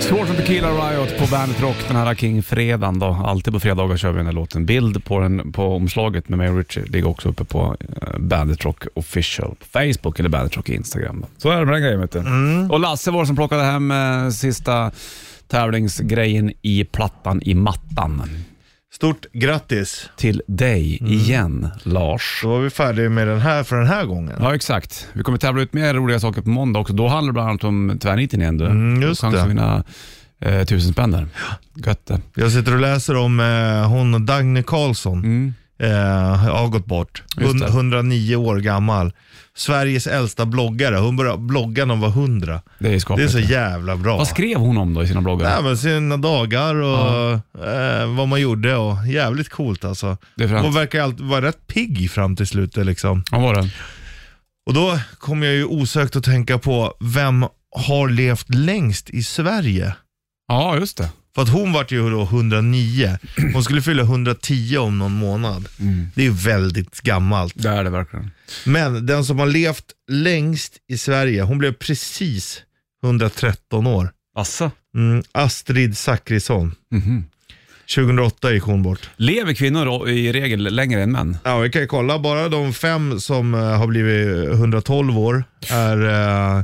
Speaker 2: Svårt att Tequila Riot på Bandet Rock den här King-fredagen då. Alltid på fredagar kör vi den här låten. Bild på, den, på omslaget med mig och Richie ligger också uppe på eh, Bandet Rock official på Facebook eller Bandet Rock Instagram. Då. Så är det med den grejen vet du. Och Lasse var det som plockade hem eh, sista tävlingsgrejen i plattan i mattan.
Speaker 3: Stort grattis.
Speaker 2: Till dig igen Lars.
Speaker 3: Då var vi färdiga med den här för den här gången.
Speaker 2: Ja, exakt. Vi kommer tävla ut mer roliga saker på måndag också. Då handlar det bland annat om tvärniten igen. Du.
Speaker 3: Mm, just
Speaker 2: Chans att
Speaker 3: det.
Speaker 2: vinna eh, tusen spänn där. Gött det.
Speaker 3: Jag sitter och läser om eh, hon Dagny Karlsson. Eh, har gått bort.
Speaker 2: Mm. Just det.
Speaker 3: Hun- 109 år gammal. Sveriges äldsta bloggare. Hon började blogga när hon var 100.
Speaker 2: Det är
Speaker 3: Det är
Speaker 2: skapligt.
Speaker 3: så jävla bra.
Speaker 2: Vad skrev hon om då i sina bloggar?
Speaker 3: Nej, men sina dagar och eh, vad man gjorde och jävligt coolt alltså.
Speaker 2: Det är fränt.
Speaker 3: Hon verkar alltid vara rätt pigg fram till slutet liksom.
Speaker 2: Vad var det?
Speaker 3: Och då kom jag ju osökt att tänka på vem har levt längst i Sverige?
Speaker 2: Ja, just det.
Speaker 3: För att hon vart ju då 109. Hon skulle fylla 110 om någon månad. Det är ju väldigt gammalt.
Speaker 2: Det är det verkligen.
Speaker 3: Men den som har levt längst i Sverige, hon blev precis 113 år.
Speaker 2: Asså?
Speaker 3: Mm, Astrid Zachrisson. 2008 gick hon bort.
Speaker 2: Mhm. Lever kvinnor då i regel längre än män?
Speaker 3: Ja, vi kan ju kolla. Bara de fem som eh, har blivit 112 år är eh,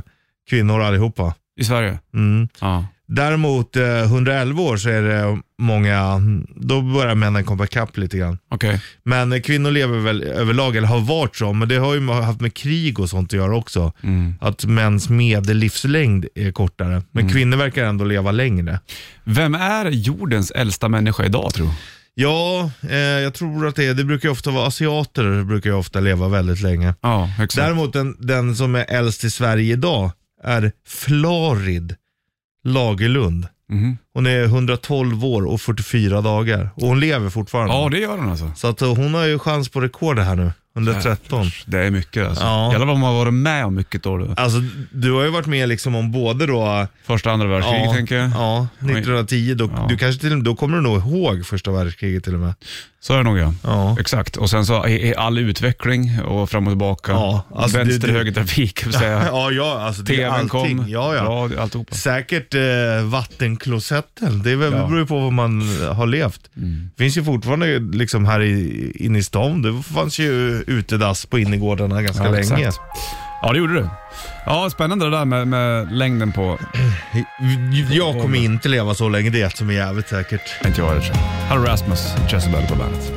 Speaker 3: kvinnor allihopa.
Speaker 2: I Sverige?
Speaker 3: Mm.
Speaker 2: Ja.
Speaker 3: Däremot eh, 111 år så är det många, då börjar männen komma ikapp lite grann.
Speaker 2: Okej.
Speaker 3: Men eh, kvinnor lever väl överlag, eller har varit så, men det har ju haft med krig och sånt att göra också. Att mäns medellivslängd är kortare. Men kvinnor verkar ändå leva längre.
Speaker 2: Vem är jordens äldsta människa idag tror du?
Speaker 3: Ja, eh, jag tror att det är, det brukar ju ofta vara asiater, brukar ju ofta leva väldigt länge.
Speaker 2: Ja, exakt.
Speaker 3: Däremot den, den som är äldst i Sverige idag är Florid Lagerlund.
Speaker 2: Mhm.
Speaker 3: Hon är 112 år och 44 dagar och hon lever fortfarande.
Speaker 2: Ja, det gör hon alltså.
Speaker 3: Så att eh, hon har ju chans på rekordet här nu, 113.
Speaker 2: Det är mycket alltså.
Speaker 3: Ja.
Speaker 2: Jävlar vad man har varit med om mycket då. du.
Speaker 3: Alltså du har ju varit med liksom om både då,
Speaker 2: Första andra världskriget
Speaker 3: ja,
Speaker 2: tänker jag.
Speaker 3: ja, 1910, då,
Speaker 2: Ja.
Speaker 3: du kanske till, och med- då kommer du nog ihåg första världskriget till och med.
Speaker 2: Så är det nog ja.
Speaker 3: Ja.
Speaker 2: Exakt. Och sen så är är all utveckling och fram och tillbaka.
Speaker 3: Ja, alltså
Speaker 2: Vänster,
Speaker 3: det- det-
Speaker 2: höger trafik, kan vi säga.
Speaker 3: Ja, ja, alltså det är
Speaker 2: TVn
Speaker 3: allting.
Speaker 2: kom,
Speaker 3: Ja, ja.
Speaker 2: radio, alltihopa.
Speaker 3: Säkert eh, vattenklosetten. Det är väl,
Speaker 2: Ja. Mm.
Speaker 3: beror ju på var man eh, har levt. finns ju fortfarande liksom här i, inne i stan. Det fanns ju utedass på innergårdarna ganska
Speaker 2: Ja,
Speaker 3: länge.
Speaker 2: exakt. Ja, det gjorde du. Ja, spännande det där med, med längden på...
Speaker 3: Jag kommer inte leva så länge, det är ett som är jävligt säkert.
Speaker 2: Inte jag heller. Här har Rasmus Chessabell på bandet.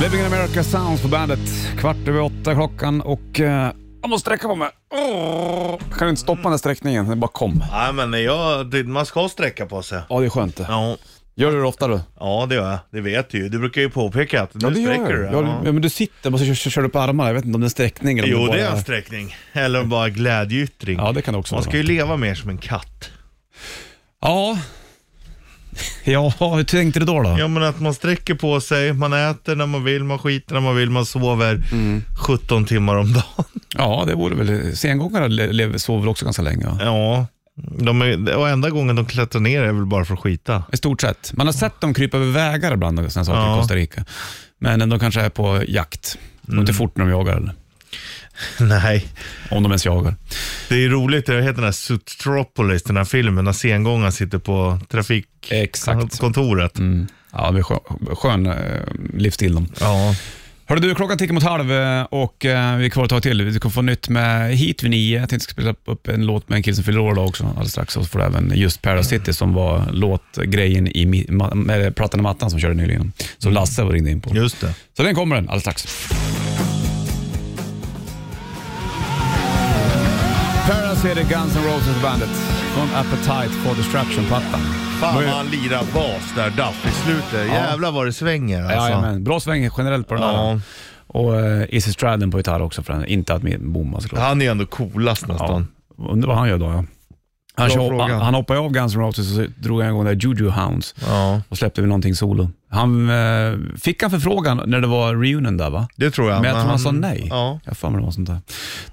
Speaker 2: Living in America Sounds på bandet. Kvart över åtta klockan och... Eh, jag måste sträcka på mig. Åh, kan du inte stoppa den här sträckningen? Den bara kom.
Speaker 3: Nej men jag, det- man ska sträcka på sig.
Speaker 2: Ja, det är skönt det.
Speaker 3: Ja,
Speaker 2: Gör du det ofta du?
Speaker 3: ja det gör jag. Det vet du ju. Du brukar ju påpeka att nu
Speaker 2: Ja, det gör
Speaker 3: sträcker
Speaker 2: jag.
Speaker 3: du
Speaker 2: Ja,
Speaker 3: dig.
Speaker 2: du- ja, men du sitter och så kör, kör, kör du på armarna. Jag vet inte om det är en sträckning eller om
Speaker 3: Jo
Speaker 2: bara
Speaker 3: det är en sträckning. Eller bara glädjeyttring.
Speaker 2: Ja, det kan det också
Speaker 3: man
Speaker 2: vara.
Speaker 3: ska ju leva mer som en katt.
Speaker 2: Ja. Ja, hur tänkte du då? då?
Speaker 3: Ja men att man sträcker på sig, man äter när man vill, man skiter när man vill, man sover
Speaker 2: Mm.
Speaker 3: 17 timmar om dagen.
Speaker 2: Ja, det vore väl... Sengångare le- lever- sover väl också ganska länge? Ja.
Speaker 3: Ja, de är, och enda gången de klättrar ner är väl bara för att skita.
Speaker 2: I stort sett. Man har sett dem krypa över vägar ibland och såna saker
Speaker 3: Ja. Mm.
Speaker 2: i Costa Rica. Men de kanske är på jakt. Går inte fort när de jagar eller?
Speaker 3: Nej.
Speaker 2: Om de ens jagar.
Speaker 3: Det är roligt, det heter den här Sutropolis, den här filmen, när sengångaren sitter på
Speaker 2: Exakt.
Speaker 3: trafikkontoret.
Speaker 2: Mm. Ja, det är skön, skön eh, livsstil de.
Speaker 3: Ja.
Speaker 2: Hörru du, klockan tickar mot halv eh, och eh, vi är kvar ett tag till. Vi kommer få nytt med Heat vid nio. Jag tänkte spela upp en låt med en kille som fyller år idag också alldeles strax. Och så får du även just Paradise City som var låtgrejen i mi- ma- med Plattan i mattan som körde nyligen. Som Lasse ringde in på.
Speaker 3: Just det.
Speaker 2: Så den kommer den alldeles strax. Paradise City, Guns N' Roses bandet. Från Appetite for Destruction-plattan.
Speaker 3: Fan
Speaker 2: Vad
Speaker 3: vad
Speaker 2: är-
Speaker 3: han lirar bas där, Duff, i slutet. Jävlar vad det svänger alltså.
Speaker 2: Jajamän, bra sväng generellt på den
Speaker 3: Ja.
Speaker 2: där. Och uh, Izzy Stradden på gitarr också, för den. inte att min bomma såklart.
Speaker 3: Han är ändå coolast nästan.
Speaker 2: Ja. Undrar vad han gör då. Ja. Han,
Speaker 3: Bra
Speaker 2: kör,
Speaker 3: fråga.
Speaker 2: han, han hoppade av Guns N' Roses och så drog han igång där Juju Hounds
Speaker 3: Ja.
Speaker 2: och släppte väl någonting solo. Han, eh, fick han förfrågan när det var reunion där va?
Speaker 3: Det tror jag.
Speaker 2: Men jag tror han sa
Speaker 3: han-
Speaker 2: nej.
Speaker 3: Ja.
Speaker 2: Jag har för mig det var sånt där.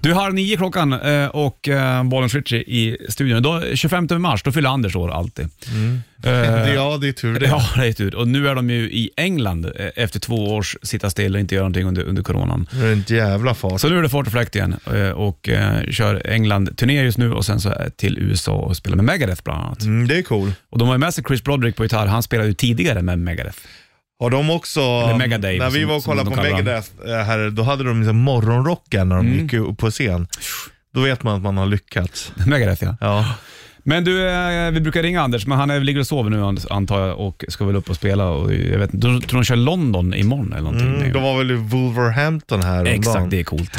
Speaker 2: Du, halv nio klockan eh, och eh, bollen switch i studion. Idag, 25 mars, då fyller Anders år alltid.
Speaker 3: Mm.
Speaker 2: Eh,
Speaker 3: Det- Ja, det är tur det.
Speaker 2: Ja, det är tur. Och nu är de ju i England eh, efter två års sitta still och inte göra någonting under, under coronan.
Speaker 3: Det är en jävla fart.
Speaker 2: Så nu är det fart och fläkt igen eh, och eh, kör England-turné just nu och sen så eh, till USA och spelar med Megadeth bland annat.
Speaker 3: Mm, det är cool.
Speaker 2: Och de har ju med sig Chris Broderick på gitarr. Han spelade ju tidigare med Megadeth.
Speaker 3: Har de också,
Speaker 2: Megadave,
Speaker 3: när vi
Speaker 2: som-
Speaker 3: var och
Speaker 2: som
Speaker 3: kollade
Speaker 2: de
Speaker 3: på
Speaker 2: kallar dem. Mm.
Speaker 3: Megadeth eh, här, då hade de liksom morgonrocken när de gick upp på scen. Då vet man att man har lyckats.
Speaker 2: Megadeth ja.
Speaker 3: Ja.
Speaker 2: Men du, eh, vi brukar ringa Anders, men han är, ligger och sover nu an- antar jag och ska väl upp och spela. Och, jag vet inte, jag tror de kör London imorgon eller någonting.
Speaker 3: Mm, de var väl i Wolverhampton här
Speaker 2: Exakt, det är coolt.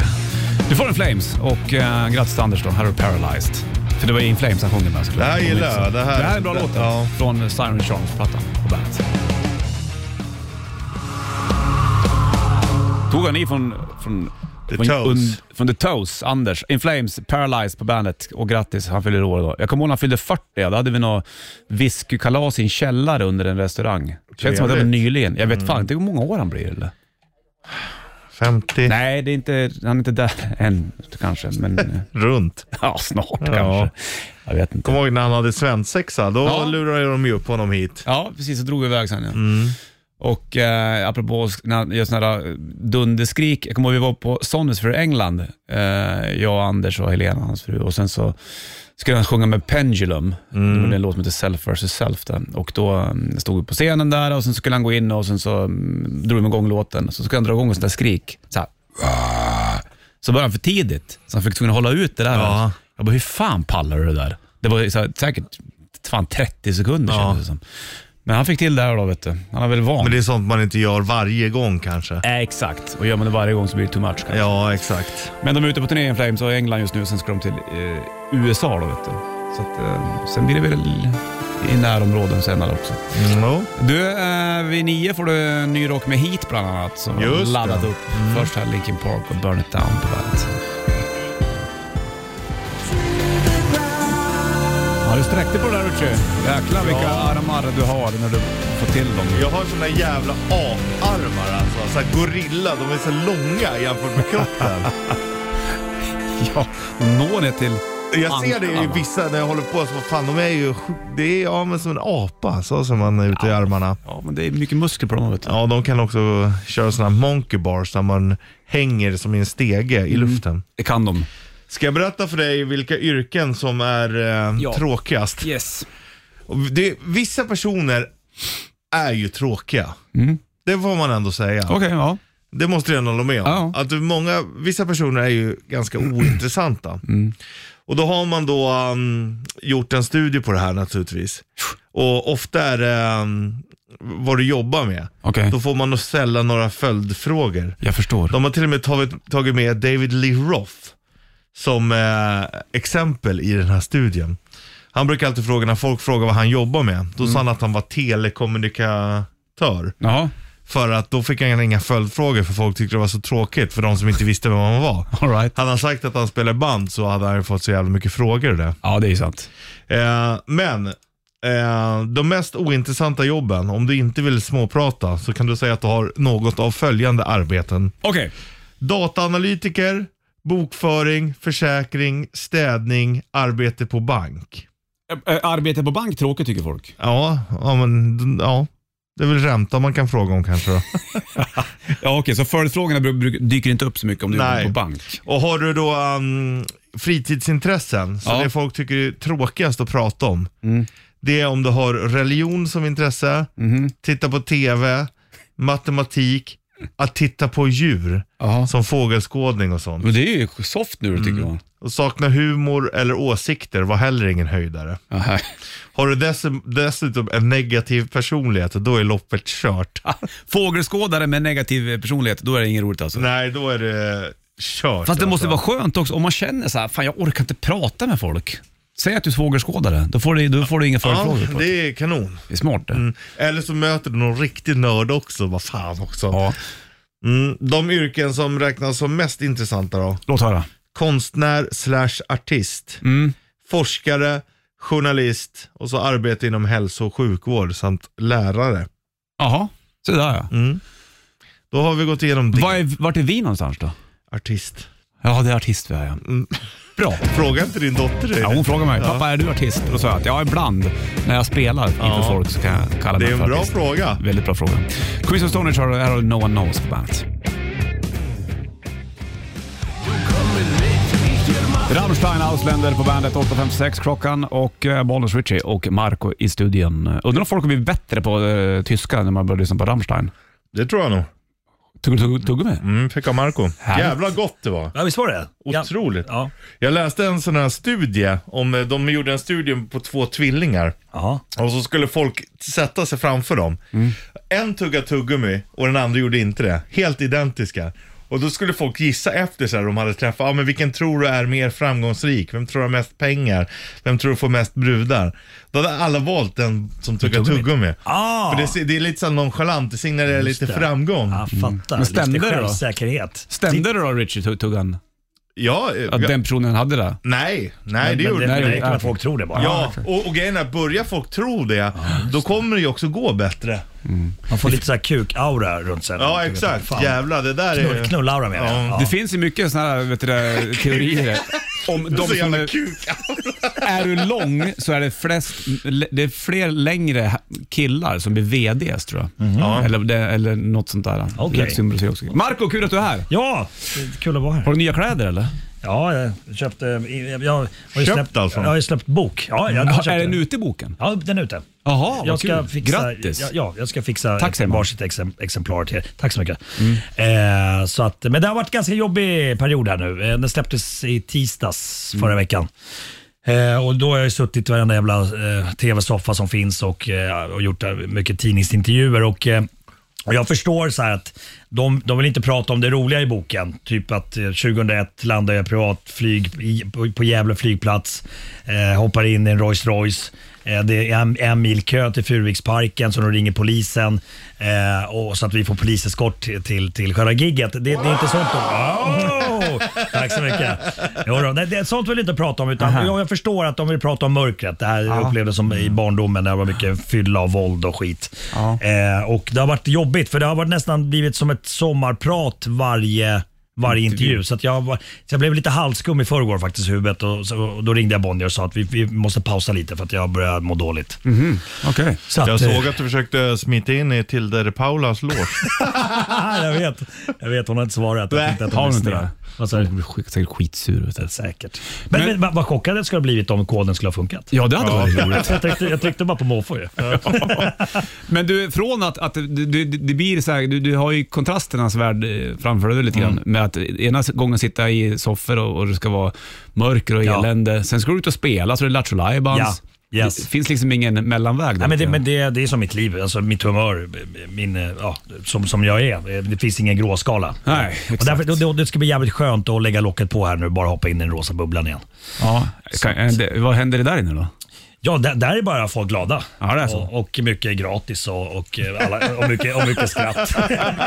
Speaker 2: Du får en Flames och eh, grattis till Anders då. Här är Paralyzed. För det var ju In Flames han sjunger med såklart.
Speaker 3: Det här gillar jag. Det här-
Speaker 2: det här är bra
Speaker 3: det-
Speaker 2: låten.
Speaker 3: ja.
Speaker 2: Från Siren Charles-plattan på bandet. Tog han i från, från,
Speaker 3: The
Speaker 2: från,
Speaker 3: Toes.
Speaker 2: från The Toes, Anders. In Flames, Paralyzed på bandet och grattis, han fyller år idag. Jag kommer ihåg när han fyllde 40, då hade vi något whiskykalas i en källare under en restaurang. Känns som att det var
Speaker 3: Trevligt. Mm.
Speaker 2: nyligen. Jag vet fan inte hur många år han blir eller?
Speaker 3: 50
Speaker 2: Nej, det är inte, han är inte där än kanske, men eh,
Speaker 3: runt.
Speaker 2: ja, snart kanske. Jag vet
Speaker 3: Kommer
Speaker 2: inte.
Speaker 3: ihåg när han hade svensexa? Då
Speaker 2: Ja.
Speaker 3: lurade de ju upp honom hit.
Speaker 2: Ja, precis. Så drog vi iväg sen. Ja.
Speaker 3: Mm.
Speaker 2: Och eh, apropå sk- när han gör sådana här eh, dunderskrik. Jag kommer ihåg vi var på Sonys för England, eh, jag, Anders och Helena, hans fru. Och sen så skulle han sjunga med Pendulum.
Speaker 3: Mm.
Speaker 2: Det var en låt som heter Self vs. Self. Där. Och då mm, stod vi på scenen där och sen skulle han gå in och sen så mm, drog de igång låten. Så skulle han dra igång en sån där skrik. Så här. Så började han för tidigt, så han fick tvungen att hålla ut det där.
Speaker 3: Ja.
Speaker 2: Jag bara, hur fan pallar du det där? Det var ju så här, säkert fan 30 sekunder
Speaker 3: Ja.
Speaker 2: kändes det som. Men han fick till det här då, vet du. Han är väl van.
Speaker 3: Men det är sånt man inte gör varje gång kanske.
Speaker 2: Eh, exakt, och gör man det varje gång så blir det too much. kanske.
Speaker 3: Ja, exakt.
Speaker 2: Men de är ute på turné i Flames och England just nu, sen ska de till eh, USA då, vet du. Så att, eh, sen blir det väl i närområden senare också.
Speaker 3: Mm, jo.
Speaker 2: Du, eh, vid nio får du ny rock med Heat bland annat, som har
Speaker 3: Just det. Mm.
Speaker 2: laddat upp. Först här Linkin Park och Burn It Down på bandet. Ja, du sträckte på det där Richie. Jäklar vilka armar du har när du får till dem.
Speaker 3: Jag har såna jävla aparmar alltså. Så här gorilla, de är så långa jämfört med kroppen.
Speaker 2: Ja, och nå ner till...
Speaker 3: Jag ser det i
Speaker 2: Anklarna.
Speaker 3: vissa när jag håller på, så vad fan de är ju sj- det är ja, men som en apa så som man är ute i armarna.
Speaker 2: Ja, men det är mycket muskler på dem vet du.
Speaker 3: Ja, de kan också köra såna här monkey bars där man hänger som i en stege i luften.
Speaker 2: Det kan de.
Speaker 3: Mm. Ska jag berätta för dig vilka yrken som är eh,
Speaker 2: Ja.
Speaker 3: tråkigast?
Speaker 2: Yes.
Speaker 3: Och Det, vissa personer är ju tråkiga.
Speaker 2: Mm.
Speaker 3: Det får man ändå säga.
Speaker 2: Okej, ja.
Speaker 3: Det måste jag ändå hålla med om.
Speaker 2: Ja.
Speaker 3: Att du- många, vissa personer är ju ganska ointressanta.
Speaker 2: Mm.
Speaker 3: Och då har man då um, gjort en studie på det här naturligtvis. Och ofta är det um, vad du jobbar med.
Speaker 2: Okej.
Speaker 3: Då får man nog ställa några följdfrågor.
Speaker 2: Jag förstår.
Speaker 3: De har till och med tagit, tagit med David Lee Roth som eh, exempel i den här studien. Han brukar alltid fråga, när folk frågar vad han jobbar med, då sa han att han var telekommunikatör.
Speaker 2: Jaha,
Speaker 3: För att då fick han inga följdfrågor för folk tyckte det var så tråkigt för de som inte visste vem han var.
Speaker 2: alright.
Speaker 3: Hade han sagt att han spelar band så hade han ju fått så jävla mycket frågor och det.
Speaker 2: Ja, det är ju sant.
Speaker 3: Eh, men eh, de mest ointressanta jobben, om du inte vill småprata så kan du säga att du har något av följande arbeten.
Speaker 2: Okej.
Speaker 3: Dataanalytiker, bokföring, försäkring, städning, arbete på bank.
Speaker 2: Ä- ä, Arbete på bank tråkigt tycker folk.
Speaker 3: Ja, ja men ja. Det är väl ränta man kan fråga om kanske då.
Speaker 2: Ja, okej, så följdfrågorna bru- bru- dyker inte upp så mycket om du är
Speaker 3: Nej.
Speaker 2: på bank.
Speaker 3: Och har du då um, fritidsintressen, så
Speaker 2: Ja. Mm.
Speaker 3: det folk tycker är tråkigast att prata om, det är om du har religion som intresse,
Speaker 2: Mhm.
Speaker 3: titta på TV, matematik, att titta på djur,
Speaker 2: Ja.
Speaker 3: som fågelskådning och sånt.
Speaker 2: Men det är ju soft nu tycker jag.
Speaker 3: Och sakna humor eller åsikter var heller ingen höjdare.
Speaker 2: Aha.
Speaker 3: Har du dess- dessutom en negativ personlighet, då är loppet kört.
Speaker 2: Fågelskådare med negativ eh, personlighet, då är det inget roligt alltså.
Speaker 3: Nej, då är det kört.
Speaker 2: Fast det måste
Speaker 3: alltså.
Speaker 2: vara skönt också om man känner så här, fan jag orkar inte prata med folk. Säg att du är fågelskådare, då får du, då får du inga följdfrågor.
Speaker 3: Ja,
Speaker 2: på det...
Speaker 3: det är kanon.
Speaker 2: det är smart det.
Speaker 3: Mm. Eller så möter du någon riktig nörd också. Vad fan också.
Speaker 2: Ja.
Speaker 3: Mm. De yrken som räknas som mest intressanta då?
Speaker 2: Låt höra.
Speaker 3: Konstnär slash artist.
Speaker 2: Mm.
Speaker 3: Forskare, journalist och så arbete inom hälso och sjukvård samt lärare.
Speaker 2: Jaha, så där ja.
Speaker 3: Då har vi gått igenom det.
Speaker 2: Var är, vart är vi någonstans då? Mm.
Speaker 3: Artist.
Speaker 2: Ja, det är artist vi är ja. Bra.
Speaker 3: Fråga inte din dotter dig.
Speaker 2: Ja, hon frågade mig, pappa är du artist? Och då sa jag att ja, ibland när jag spelar inför folk så kan jag kalla
Speaker 3: det
Speaker 2: mig
Speaker 3: är
Speaker 2: för
Speaker 3: en bra
Speaker 2: artist.
Speaker 3: fråga.
Speaker 2: Väldigt bra fråga. Chris of Stone Age har här har No One Knows på bandet. Rammstein Ausländer på bandet 8.56 klockan och eh, Bollnäs Ritchie och Marco i studion. Undrar om folk har blivit bättre på eh, tyska när man börjar lyssna på Rammstein?
Speaker 3: Det tror jag nog.
Speaker 2: Tugga tugg, tugg med?
Speaker 3: Mm, fick av Marco.
Speaker 2: Härligt.
Speaker 3: Jävla gott det var.
Speaker 7: Ja, visst var det?
Speaker 3: Otroligt.
Speaker 7: Ja.
Speaker 3: Jag läste en sån här studie, om, eh, de gjorde en studie på två tvillingar.
Speaker 7: Ja.
Speaker 3: Och så skulle folk sätta sig framför dem.
Speaker 7: Mm.
Speaker 3: En tuggade tuggummi och den andra gjorde inte det. Helt identiska. Och då skulle folk gissa efter så här, de hade träffat, ja ah, men vilken tror du är mer framgångsrik? Vem tror du har mest pengar? Vem tror du får mest brudar? Då hade alla valt den som tuggar tuggummi.
Speaker 7: Ah.
Speaker 3: För det, ser- det är lite så här nonchalant, det signalerar lite
Speaker 7: det.
Speaker 3: framgång.
Speaker 7: Jag fattar.
Speaker 2: Men stämde
Speaker 7: Lite
Speaker 2: det då?
Speaker 7: självsäkerhet.
Speaker 2: Stämde det då Richie tugg- tuggan?
Speaker 3: Ja, eh,
Speaker 2: Att
Speaker 3: ja,
Speaker 2: den personen hade det?
Speaker 3: nej, nej det
Speaker 7: men
Speaker 3: gjorde
Speaker 7: det
Speaker 2: nej,
Speaker 7: räcker med
Speaker 2: ja.
Speaker 7: att folk tror det bara.
Speaker 3: Ja, och, och grejen är, börjar folk tro det, då kommer det ju också gå bättre.
Speaker 7: Man får lite så här kuk-aura runt sig.
Speaker 3: Ja, exakt.
Speaker 7: Fan.
Speaker 3: Jävlar, det där är...
Speaker 7: Knull- Knull-aura menar jag.
Speaker 3: Ja.
Speaker 7: Ja.
Speaker 2: Det finns ju mycket sådana här vet du, det, teorier om de
Speaker 3: De så
Speaker 2: som
Speaker 3: jävla
Speaker 2: är
Speaker 3: kuk.
Speaker 2: Är du lång så är det, flest, det är fler längre killar som blir VDs tror jag. Eller, det, eller något sånt där.
Speaker 7: Okej.
Speaker 2: Lätt symboliserar också. Marco, kul att du är här.
Speaker 7: Ja, kul att vara här.
Speaker 2: Har du nya kläder eller?
Speaker 7: Ja, jag köpte... Jag, jag har ju
Speaker 3: Köpt
Speaker 7: släppt,
Speaker 3: alltså?
Speaker 7: Jag har ju släppt bok. Ja, jag, jag köpte
Speaker 2: Mm. är
Speaker 7: den.
Speaker 2: den ute i boken?
Speaker 7: Ja, den är ute.
Speaker 2: Jaha, vad
Speaker 7: jag ska
Speaker 2: kul.
Speaker 7: fixa,
Speaker 2: Grattis.
Speaker 7: Ja, ja, jag ska fixa
Speaker 2: Tack, Selma.
Speaker 7: varsitt exem, exemplar till er. Tack så mycket.
Speaker 2: Mm.
Speaker 7: Eh, så att, men det har varit en ganska jobbig period här nu. Eh, den släpptes i tisdags
Speaker 2: Mm.
Speaker 7: förra veckan. Eh, och Då har jag ju suttit i varenda jävla eh, tv-soffa som finns och, eh, och gjort eh, mycket tidningsintervjuer. Och, eh, och jag förstår så här att de, de vill inte prata om det roliga i boken. Typ att eh, 2001 landade jag privatflyg i, på, på Gävle flygplats, eh, hoppar in i en Rolls Royce. Eh, det är en, en mil kö till Furuviksparken så de ringer polisen eh, och, så att vi får poliseskort till, till, till själva gigget. Det, det är inte sånt de... Åh! Tack så mycket. Jo, då, det, det, sånt vill jag inte prata om. Utan jag, jag förstår att de vill prata om mörkret. Det här jag upplevde som i barndomen när det var mycket fylla och våld och skit. Eh, och Det har varit jobbigt för det har varit nästan blivit som ett sommarprat varje varje intervju. Så, att jag, var- så jag blev lite halvskum i förrgår faktiskt i huvudet och, så, och då ringde jag Bonnier och sa att vi, vi måste pausa lite för att jag börjar må dåligt.
Speaker 2: Okej.
Speaker 7: Så att,
Speaker 3: Jag
Speaker 7: eh,
Speaker 3: såg att du försökte smita in i Tilde de Paulas lås.
Speaker 7: jag vet. Jag vet, hon har inte svarat. Jag
Speaker 3: Nej,
Speaker 7: tänkte att
Speaker 2: har
Speaker 7: hon
Speaker 2: hon inte
Speaker 7: lyssnar.
Speaker 2: det?
Speaker 7: Vad sa du?
Speaker 2: Du blir säkert skitsur. Vet du.
Speaker 7: Säkert. Men,
Speaker 2: Men-
Speaker 7: men, vad- vad chockad jag skulle ha blivit om koden skulle ha funkat.
Speaker 2: Ja, det hade varit roligt.
Speaker 7: Jag tryckte, jag tryckte bara på måfå ju.
Speaker 2: Men du, från att, att du, du, det blir så här, du, du har ju kontrasternas värld eh, framför dig lite grann.
Speaker 7: Mm.
Speaker 2: Med att ena gången sitta i soffor och, och det ska vara mörker och
Speaker 7: Ja.
Speaker 2: elände. Sen ska du ut och spela så det är Lattjo Lajbans.
Speaker 7: Ja, yes.
Speaker 2: Det finns liksom ingen mellanväg där.
Speaker 7: Nej, men det, men det, det är som mitt liv, alltså mitt humör, min, eh, ja, som, som jag är. Det finns ingen gråskala.
Speaker 2: Nej,
Speaker 7: och
Speaker 2: exakt.
Speaker 7: därför, det, det ska bli jävligt skönt att lägga locket på här nu bara hoppa in i den rosa bubblan igen.
Speaker 2: Ja, kan, eh, det, vad händer det där inne då?
Speaker 7: Ja, där, där är bara folk glada.
Speaker 2: Ja, det är så.
Speaker 7: Och, och mycket är gratis och, och, eh, alla, och, mycket, och mycket skratt.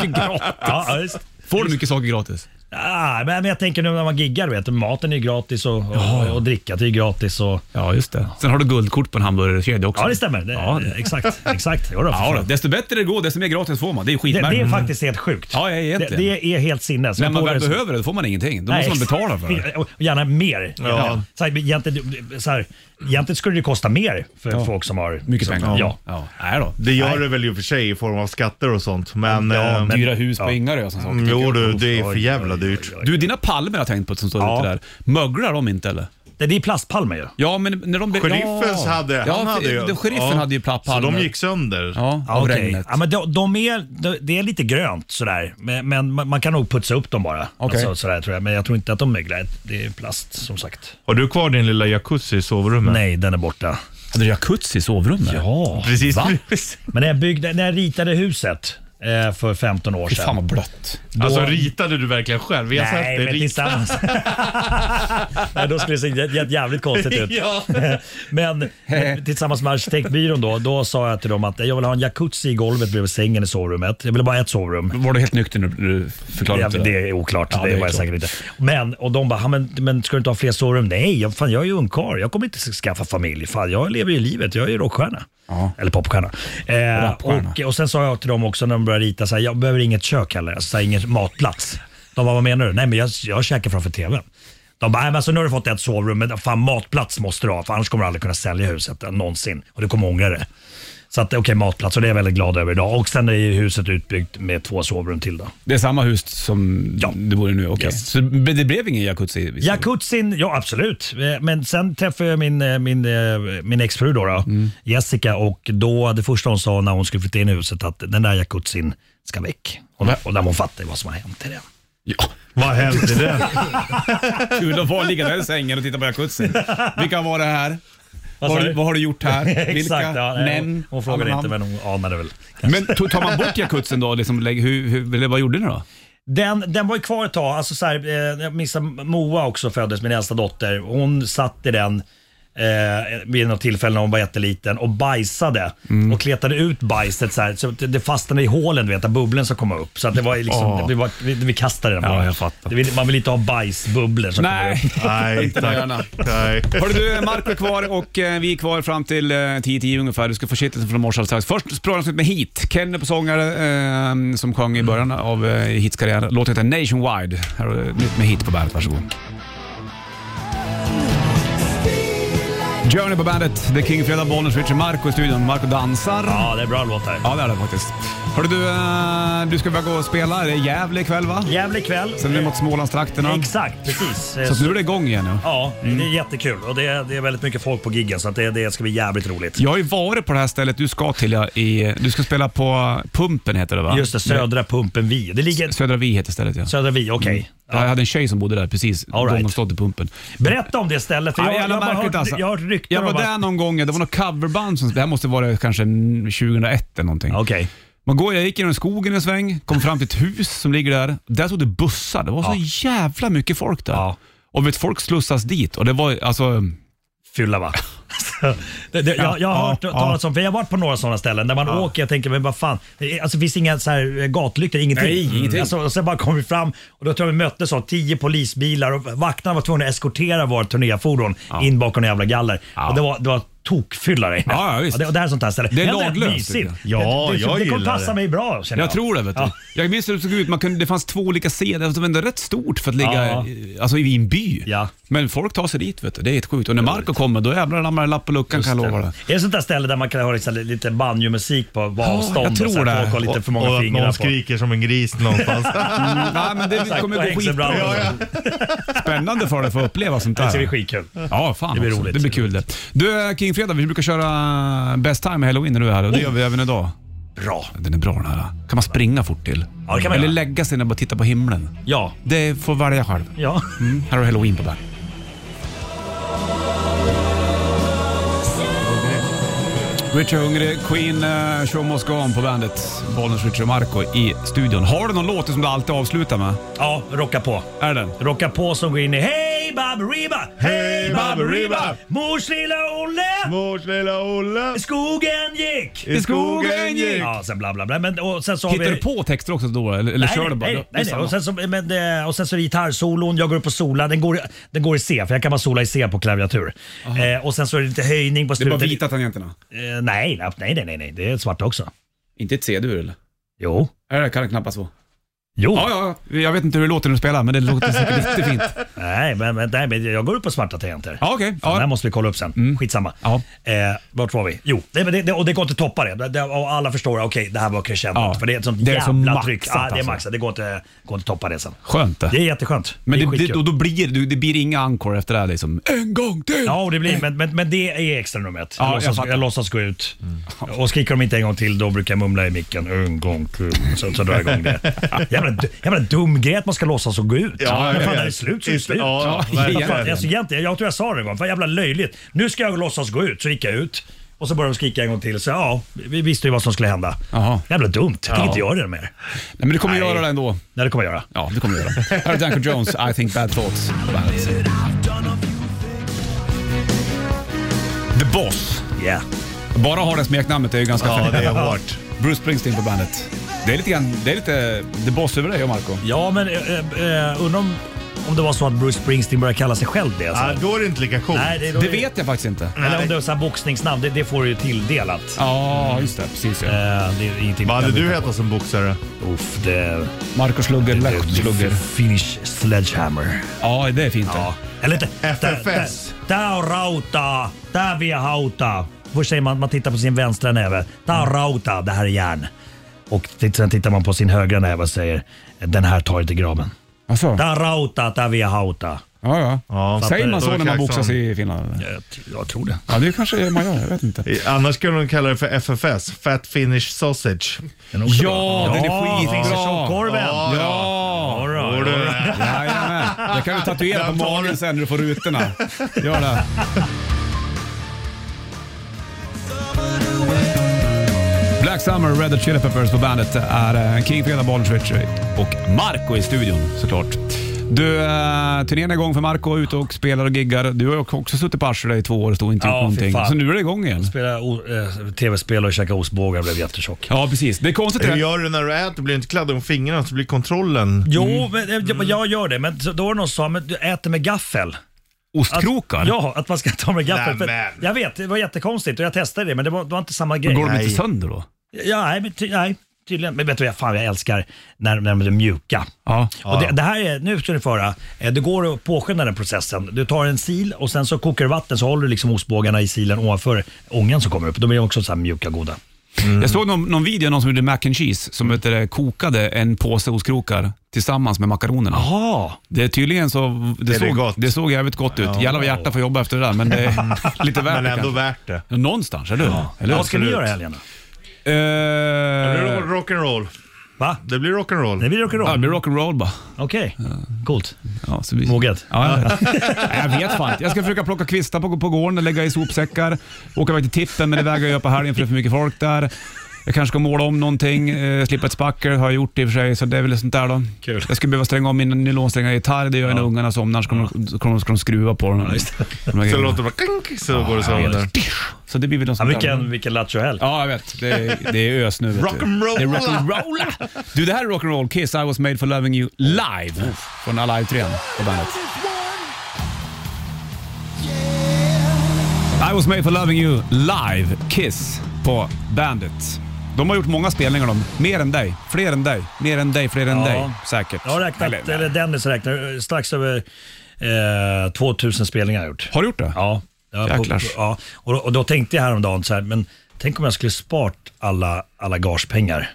Speaker 7: mycket gratis. Ja, ja, visst.
Speaker 2: Får du mycket saker gratis?
Speaker 7: Ah, men jag tänker nu när man giggar, vet du, maten är ju gratis och, och, och drickat är ju gratis. Och,
Speaker 2: Ja, just det. Sen har du guldkort på en hamburgerkedja också.
Speaker 7: ja, det stämmer. Det,
Speaker 2: Ja, det-
Speaker 7: Exakt. exakt. Jo då, för
Speaker 2: Ja, då.
Speaker 7: fan.
Speaker 2: desto bättre det går, desto mer gratis får man. Det är
Speaker 7: det,
Speaker 2: skitmärkligt.
Speaker 7: det är faktiskt helt sjukt.
Speaker 2: Ja, ja,
Speaker 7: det,
Speaker 2: egentligen.
Speaker 7: det är helt sinnes.
Speaker 2: När man
Speaker 7: Jag
Speaker 2: väl
Speaker 7: tror det-
Speaker 2: behöver det, då får man ingenting. Då måste man
Speaker 7: exakt.
Speaker 2: betala för det.
Speaker 7: Och- Och gärna mer.
Speaker 3: Ja.
Speaker 7: Så här, egentligen, så här, egentligen skulle det kosta mer för
Speaker 2: Ja.
Speaker 7: folk som har
Speaker 2: Mycket
Speaker 7: så-
Speaker 2: pengar.
Speaker 7: Ja.
Speaker 2: ja. Nej då.
Speaker 3: Det gör det väl i och för sig i form av skatter och sånt, men...
Speaker 7: Ja,
Speaker 3: eh,
Speaker 7: men-
Speaker 2: Dyra hus på
Speaker 7: Ja.
Speaker 2: Ingarö och sånt. saker.
Speaker 3: Mm, jo du, det är
Speaker 7: Oj,
Speaker 3: för jävla
Speaker 7: oj, oj,
Speaker 3: dyrt.
Speaker 7: oj.
Speaker 2: Du, dina palmer har jag tänkt på som står
Speaker 7: Ja.
Speaker 2: ute där. Möglar de inte eller?
Speaker 7: Det, det är plastpalmer ju.
Speaker 2: Ja, men när de...
Speaker 3: Sheriffens
Speaker 2: ja.
Speaker 3: hade,
Speaker 2: ja,
Speaker 3: han hade ju...
Speaker 2: den- Sheriffen
Speaker 3: ja.
Speaker 2: hade ju pla-
Speaker 3: Så
Speaker 2: palmer.
Speaker 3: de gick sönder.
Speaker 2: Ja, av
Speaker 7: okej.
Speaker 2: regnet.
Speaker 7: Ja, men de, de är, de, det är lite grönt sådär, men, men man, man kan nog putsa upp dem bara.
Speaker 2: Okej.
Speaker 7: Alltså, sådär, tror jag. Men jag tror inte att de möglar. Det är plast som sagt.
Speaker 3: Har du kvar din lilla jacuzzi i sovrummet?
Speaker 7: Nej, den är borta.
Speaker 2: Hade du jacuzzi i sovrummet?
Speaker 7: Ja.
Speaker 3: Precis.
Speaker 7: Va? Men när jag, byggde, när jag ritade huset eh, för 15 år
Speaker 2: Fy fan
Speaker 7: sedan.
Speaker 2: vad blött.
Speaker 3: Alltså ritade du verkligen själv? Vi har sett
Speaker 7: Nej,
Speaker 3: dig
Speaker 7: men
Speaker 3: rita.
Speaker 7: tillsammans. Nej, då skulle det se jä- jä- jävligt konstigt ut.
Speaker 3: Ja.
Speaker 7: Men men tillsammans med arkitektbyrån då, då sa jag till dem att jag vill ha en jacuzzi i golvet bredvid sängen i sovrummet. Jag ville bara ha ett sovrum.
Speaker 2: Var du helt nykter när du förklarade
Speaker 7: Det,
Speaker 2: inte det?
Speaker 7: det är oklart,
Speaker 2: Ja,
Speaker 7: det,
Speaker 2: det är
Speaker 7: var jag
Speaker 2: klart.
Speaker 7: säkert inte. Men, och de bara, "Ja, men, men ska du inte ha fler sovrum? Nej, jag, fan, jag är ju ungkarl. Jag kommer inte skaffa familj. Fan, jag lever ju livet. Jag är ju rockstjärna.
Speaker 2: Ja.
Speaker 7: Eller popstjärna. Eh,
Speaker 2: Rapstjärna.
Speaker 7: och, och sen sa jag till dem också när de började rita, så här, jag behöver inget kök heller. Alltså, så här, ingen matplats. De bara, vad menar du? Nej, men jag, jag käkar framför tvn. De bara, "Nej, men alltså, nu har du fått ett sovrum, men fan matplats måste du ha, för annars kommer du aldrig kunna sälja huset eh, någonsin. Och du kommer ångra det. Så att, okej, matplats och det är jag väldigt glad över idag. Och sen är ju huset utbyggt med två sovrum till då.
Speaker 2: Det är samma hus som
Speaker 7: Ja.
Speaker 2: du bor i nu? Okej.
Speaker 7: Yes.
Speaker 2: Så men det blev ingen jacuzzi? i-
Speaker 7: Jacuzzin, ja absolut. Eh, Men sen träffade jag min, eh, min, eh, min exfru då, då Jessica och då det första hon sa när hon skulle flytta in i huset att den där jacuzzin ska väck. Och, och när hon fattade vad som har hänt i den.
Speaker 2: Ja.
Speaker 3: Vad hände där?
Speaker 2: Kul att vara liggande i sängen och titta på jacuzzin. Vilka var det här? Vad,
Speaker 7: sa
Speaker 2: har du,
Speaker 7: du?
Speaker 2: vad har du gjort här? Vilka?
Speaker 7: Exakt, ja, nej,
Speaker 2: Män?
Speaker 7: hon, hon frågade
Speaker 2: Alla
Speaker 7: inte
Speaker 2: namn.
Speaker 7: men hon anade väl.
Speaker 2: Men to- tar man bort jacuzzin då? Liksom, lägg- hur, hur, eller vad gjorde ni då?
Speaker 7: Den, den var ju kvar ett tag. Alltså så här, eh, jag missar Moa också föddes, min äldsta dotter. Hon satt i den eh, vid något tillfälle när hon var jätteliten och bajsade
Speaker 2: Mm.
Speaker 7: och kletade ut bajset så, här, så att det fastnade i hålen, du vet, där bubblan som kom upp. Så att det var ju liksom,
Speaker 2: Ah.
Speaker 7: det var, vi, vi kastade den
Speaker 2: Ja,
Speaker 7: bara.
Speaker 2: jag fattar.
Speaker 7: Det vill, man vill inte ha bajsbubblor som kommer upp.
Speaker 2: Nej.
Speaker 3: Nej,
Speaker 2: Inte gärna.
Speaker 3: tack. Nej.
Speaker 2: Hörru du, Marco är kvar och eh, vi är kvar fram till eh, 10-10 ungefär. Du ska få shitlisten från morse alldeles strax. Först språngas ut med Heat. Kenny på sångare eh, som sjöng i början av eh, Heats karriär. Låten heter Nationwide. Här har du nytt med Heat på bandet. Varsågod. Journey på bandet. Det är King Fredag, Bollnäs, Richard Marco i studion. Marco dansar.
Speaker 7: Ja, det är bra låt där.
Speaker 2: Ja, det är det faktiskt. Hörru du, eh, du ska väl gå och spela. Det är Gävle ikväll va?
Speaker 7: Jävlig kväll.
Speaker 2: Sen är det mot Smålandstrakterna.
Speaker 7: Exakt, precis.
Speaker 2: Så att nu Mm. är det igång igen. Ja.
Speaker 7: Ja, det är jättekul och det, det är väldigt mycket folk på giggen så att det, det ska bli jävligt roligt.
Speaker 2: Jag har ju varit på det här stället du ska till. ja, I, du ska spela på Pumpen heter det va?
Speaker 7: Just det, Södra Pumpen Vi. Det ligger
Speaker 2: Södra Vi heter stället ja. Mm.
Speaker 7: Södra Vi, okej.
Speaker 2: Ja, Jag hade en tjej som bodde där precis.
Speaker 7: All right.
Speaker 2: Gång och stod i Pumpen.
Speaker 7: Berätta om det stället. För jag,
Speaker 2: Ja,
Speaker 7: jag,
Speaker 2: jävla
Speaker 7: har bara
Speaker 2: märkligt,
Speaker 7: hört,
Speaker 2: alltså.
Speaker 7: jag har hört rykten
Speaker 2: Jag var
Speaker 7: om att-
Speaker 2: där någon gång, ja, det var något coverband. Som, det här måste vara kanske 2001 eller någonting.
Speaker 7: Okej.
Speaker 2: Man går, jag gick genom skogen en sväng, kom fram till ett hus som ligger där. Där stod det bussar. Det var så jävla mycket folk där.
Speaker 7: Ja.
Speaker 2: Och vet, folk slussas dit och det var alltså...
Speaker 7: Fylla va? det, det, jag, jag har
Speaker 2: Ja,
Speaker 7: hört
Speaker 2: ja.
Speaker 7: talas om, för jag har varit på några sådana ställen där man åker och tänker, men vad fan, det är- alltså, det finns inga så här gatlyktor, ingenting.
Speaker 2: Nej, ingenting.
Speaker 7: Alltså, och sen bara kom vi fram och då tror jag vi möttes av tio polisbilar och vakterna var tvungna att eskortera vårt turnéfordon in bakom en jävla galler. Och det var, det var tokfylla där inne.
Speaker 2: Ja, ja, visst.
Speaker 7: Och det, och det här är sånt här ställe.
Speaker 2: Det är
Speaker 7: Men
Speaker 2: laglöst,
Speaker 7: mysigt.
Speaker 2: tycker
Speaker 3: jag. Ja,
Speaker 7: det, det,
Speaker 3: jag
Speaker 7: det
Speaker 3: gillar
Speaker 7: kommer passa
Speaker 3: det.
Speaker 7: mig bra känner jag.
Speaker 2: Jag tror det. Vet du.
Speaker 7: Ja.
Speaker 2: Jag minns hur det såg ut. Man kunde, det fanns två olika scener. Det var ändå rätt stort för att ligga
Speaker 7: Ja.
Speaker 2: i- alltså, i en by.
Speaker 7: Ja.
Speaker 2: Men folk tar sig dit. Vet du. Det är helt sjukt. Och när Marco kommer, då jävlar ramlar det lapp på luckan kan jag lova dig.
Speaker 7: Är det sånt där ställe där man kan ha liksom lite banjomusik på på avstånd?
Speaker 2: jag tror
Speaker 7: och så här,
Speaker 2: det.
Speaker 7: Folk har lite för många
Speaker 3: och att
Speaker 7: fingrar
Speaker 3: någon
Speaker 7: på.
Speaker 3: skriker som en gris någonstans.
Speaker 2: Nej, men det kommer
Speaker 7: Och
Speaker 2: gå
Speaker 7: hängsel
Speaker 2: skitbra.
Speaker 7: bland dem.
Speaker 2: Spännande för dig att få uppleva sånt
Speaker 7: Det ska
Speaker 2: där.
Speaker 7: bli skitkul.
Speaker 2: Ja, fan
Speaker 7: Det blir
Speaker 2: också.
Speaker 7: roligt.
Speaker 2: Det blir kul det. Du, King Fredag, vi brukar köra Best time med halloween när du är här och det gör vi även idag.
Speaker 7: Bra.
Speaker 2: Den är bra den här. Kan man springa fort till?
Speaker 7: Ja, det kan man
Speaker 2: Eller
Speaker 7: göra.
Speaker 2: lägga sig ner och bara titta på himlen.
Speaker 7: Ja.
Speaker 2: Det får välja själv.
Speaker 7: Ja.
Speaker 2: Mm. Här har du halloween på bandet. Richard Hungry, Queen, eh, Show Must Go On på bandet. Bollnäs, Richard och Marco i studion. Har du någon låt som du alltid avslutar med?
Speaker 7: ja, rocka på.
Speaker 2: Är det den?
Speaker 7: Rocka på som går in i Hej Baberiba!
Speaker 3: Hej, Baberiba!
Speaker 7: Mors lilla Olle!
Speaker 3: Mors lilla Olle
Speaker 7: Skogen gick!
Speaker 3: i skogen gick.
Speaker 7: Ja, sen bla bla bla. Men, och sen så har
Speaker 2: Hittar
Speaker 7: vi...
Speaker 2: du på texter också då? Eller, eller kör du bara?
Speaker 7: nej,
Speaker 2: Det
Speaker 7: nej,
Speaker 2: är
Speaker 7: nej,
Speaker 2: samma.
Speaker 7: Och, sen så, men, eh, och sen så är det gitarrsolon, jag går upp och solar. Den går, den går i C, för jag kan bara sola i C på klaviatur. Eh, och sen så är det lite höjning på
Speaker 2: det är bara
Speaker 7: slutet.
Speaker 2: vita tangenterna.
Speaker 7: Eh, nej, nej, nej, nej, nej, det är svarta också.
Speaker 2: Inte ett C-dur eller?
Speaker 7: Jo.
Speaker 2: Är det kan det knappast vara.
Speaker 7: Jo.
Speaker 2: Ja, ja, ja. jag vet inte hur det låter när du spelar, men det låter säkert lite fint.
Speaker 7: Nej, men, men, nej, men jag går upp på svarta tangenter.
Speaker 2: Ja, okej.
Speaker 7: Den här
Speaker 2: Ja.
Speaker 7: måste vi kolla upp sen. Skitsamma.
Speaker 2: Ja.
Speaker 7: Eh, vart var vi? Jo, det, det, det, och det går inte att toppa det. det, det och alla förstår, okej, det här var crescendot.
Speaker 2: Ja.
Speaker 7: För det är ett sånt
Speaker 2: Det är så
Speaker 7: jävla
Speaker 2: maxat
Speaker 7: tryck. Ja, det är
Speaker 2: alltså.
Speaker 7: maxat. Det går inte, går inte att toppa det sen.
Speaker 2: Skönt
Speaker 7: Det
Speaker 2: det.
Speaker 7: är jätteskönt.
Speaker 2: Men
Speaker 7: det är
Speaker 2: det, det,
Speaker 7: skitkul.
Speaker 2: då, då blir det, det blir inga encore efter det här liksom. En gång till!
Speaker 7: Ja, och det blir, men, men, men det är extra numret.
Speaker 2: Ja,
Speaker 7: jag,
Speaker 2: jag
Speaker 7: låtsas,
Speaker 2: fattar.
Speaker 7: jag låtsas gå ut.
Speaker 3: Mm.
Speaker 7: Och skriker de inte en gång till, då brukar jag mumla i micken. En gång till. Så, så drar jag igång det. Jävla, du- jävla dum grej att man ska låtsas och gå ut.
Speaker 3: Ja, jag
Speaker 7: men fan,
Speaker 3: vet.
Speaker 7: när det är slut så är det slut.
Speaker 3: Ja, ja,
Speaker 7: Vad
Speaker 2: igen.
Speaker 3: verkligen.
Speaker 7: Fan, alltså, egentligen, jag tror jag sa det en gång, för jävla löjligt. Nu ska jag låtsas gå ut, så gick jag ut. Och så började de skrika en gång till, så ja, vi visste ju vad som skulle hända.
Speaker 2: Jaha.
Speaker 7: Jävla dumt, jag tänker inte göra det mer.
Speaker 2: Nej, men du kommer göra det ändå.
Speaker 7: Nej, det kommer jag göra.
Speaker 2: Ja, det kommer du göra. Här är Danko Jones, I think bad thoughts. på bandet. The Boss.
Speaker 7: Yeah.
Speaker 2: Bara ha det smeknamnet är ju ganska
Speaker 3: Ja,
Speaker 2: fett.
Speaker 3: det är hårt.
Speaker 2: Bruce Springsteen på bandet. Det är lite grann, det är lite The Boss över dig, Marco.
Speaker 7: Ja, men eh, eh, undrar om, om det var så att Bruce Springsteen började kalla sig själv det. Alltså.
Speaker 3: Ja, då är det inte lika coolt.
Speaker 7: Nej, det,
Speaker 2: Det vet jag faktiskt inte.
Speaker 7: Eller om det är så här boxningsnamn, det, det får du ju tilldelat.
Speaker 2: Ja, just det. Precis ja.
Speaker 7: Eh, det är ingenting
Speaker 3: Vad hade
Speaker 7: jag-
Speaker 3: du hetat som boxare?
Speaker 7: Uff, det...
Speaker 2: Marco Slugger, Lech Slugger.
Speaker 7: Finish Sledgehammer.
Speaker 2: Ja, det är fint det.
Speaker 7: Ja. Eller det-
Speaker 3: FFS.
Speaker 7: det- Tää on rautaa, tää vie hautaa. Först säger man, man tittar på sin vänstra näve. Tää on rautaa, det här är järn. Och t- sen tittar man på sin högra näve och säger, den här tar jag till graven.
Speaker 2: Alltså,
Speaker 7: Tää on rautaa, tää vie hautaa.
Speaker 2: ja, ja.
Speaker 3: Ja,
Speaker 2: Säger man
Speaker 3: fattar
Speaker 2: så när
Speaker 3: du.
Speaker 2: man
Speaker 3: Då är
Speaker 2: boxas
Speaker 3: Jackson.
Speaker 2: i Finland? eller?
Speaker 7: Jag, t- jag tror det.
Speaker 2: Ja, det kanske man gör. Jag vet inte.
Speaker 3: I- Annars skulle de kalla det för FFS, Fat Finish Sausage.
Speaker 7: Den är också
Speaker 2: Ja,
Speaker 7: bra.
Speaker 2: den är skitbra.
Speaker 7: finns i tjockkorven.
Speaker 3: Ja,
Speaker 2: Ja!
Speaker 7: All right, all
Speaker 3: Borde-
Speaker 7: right.
Speaker 2: Jajamän. Det kan du tatuera på
Speaker 3: Den tar
Speaker 2: magen
Speaker 3: du.
Speaker 2: sen när du får rutorna. Gör det. Black Summer, Red Hot Chili Peppers på bandet är eh, King Fredag, Bollenswitch och Marco i studion såklart. Du, eh, turnén är igång för Marco, ute och spelar och giggar. Du har ju också suttit på arslet i två år och stod inte ut
Speaker 7: Ja, fy
Speaker 2: någonting.
Speaker 7: fan.
Speaker 2: Så nu är det igång igen.
Speaker 7: Spela o- eh, tv-spel och käka ostbågar blev jättetjock.
Speaker 2: Ja, precis. Det är konstigt det
Speaker 3: Hur
Speaker 2: där.
Speaker 3: gör du när du äter? Blir du inte kladdig om fingrarna så blir kontrollen...
Speaker 7: Jo,
Speaker 2: Mm.
Speaker 7: men, eh, jag, jag gör det, men så- då var det någon som sa men du äter med gaffel. Att,
Speaker 2: Ostkrokar?
Speaker 3: Alltså,
Speaker 7: Ja, att man ska ta med gaffel. För,
Speaker 3: Nämen.
Speaker 7: jag vet, det var jättekonstigt och jag testade det, men det var, det var inte samma grej.
Speaker 2: Går de
Speaker 3: Nej.
Speaker 2: inte sönder då?
Speaker 7: Ja, nej, men ty, nej, tydligen. Men vet du vad, fan jag älskar när, när de är mjuka.
Speaker 2: Ja.
Speaker 7: Och det, det här är, nu ska du få höra, eh, det går att påskynda den processen. Du tar en sil och sen så kokar du vatten så håller du liksom ostbågarna i silen ovanför ångan som kommer upp. De är också så här mjuka goda.
Speaker 2: Jag såg
Speaker 3: Mm.
Speaker 2: någon, någon video någon som gjorde mac and cheese som vet du, det, kokade en påse ostkrokar tillsammans med makaronerna.
Speaker 7: Jaha,
Speaker 2: Det är tydligen så, det,
Speaker 3: Är det
Speaker 2: såg,
Speaker 3: gott?
Speaker 2: det såg jävligt gott ut. Jävlar vad hjärta får jobba efter det där, men det är lite värt
Speaker 3: Men
Speaker 2: det
Speaker 3: ändå
Speaker 2: kanske.
Speaker 3: värt det.
Speaker 2: Någonstans, eller hur? Eller hur?
Speaker 7: vad ska ni
Speaker 3: absolut.
Speaker 7: göra i helgen då?
Speaker 3: Det blir
Speaker 2: Eh,
Speaker 3: rock'n'roll.
Speaker 7: Va?
Speaker 3: Det blir
Speaker 7: Det
Speaker 3: rock'n'roll.
Speaker 7: blir rock'n'roll?
Speaker 2: Ja, det blir rock'n'roll bara.
Speaker 7: Okej, coolt.
Speaker 2: Ja, så blir...
Speaker 7: Moget.
Speaker 2: Ja, jag, vet. Nej, jag vet fan inte. Jag ska försöka plocka kvistar på, på gården, lägga i sopsäckar, åka iväg till tippen, men det vägrar jag göra på helgen för det är för mycket folk där. Jag kanske ska måla om någonting, eh, slippa ett spackel har jag gjort i och för sig, så det är väl sånt där då.
Speaker 7: Kul.
Speaker 2: Jag skulle behöva stränga om min nylonsträngade gitarr, det gör jag när ungarna somnar, så kommer, de, så kommer, de, så kommer de skruva på den. De här
Speaker 3: Så
Speaker 2: grejerna.
Speaker 3: låter det bara klink, så går det sönder.
Speaker 2: så det blir väl något
Speaker 7: Ja,
Speaker 2: sånt där.
Speaker 7: vilken vilken lattjohelg.
Speaker 2: Ja, jag vet. Det är, det är ös nu. vet du.
Speaker 3: Rock'n'roll.
Speaker 2: Det är rock'n'roll. Du, det här är rock'n'roll. Kiss I was made for loving you live från Alive 3 på bandet. I was made for loving you live, Kiss, på bandet. De har gjort många spelningar de. Mer än dig, fler än dig, mer än dig, fler än
Speaker 7: Ja.
Speaker 2: dig. Säkert.
Speaker 7: Jag har räknat, eller, Dennis räknar, eh, strax över eh, 2000 spelningar har jag gjort.
Speaker 2: Har du gjort det?
Speaker 7: Ja. Ja, på-
Speaker 2: Jäklar.
Speaker 7: på- ja. Och, då- och då tänkte jag häromdagen så här, men tänk om jag skulle spart alla, alla gagepengar.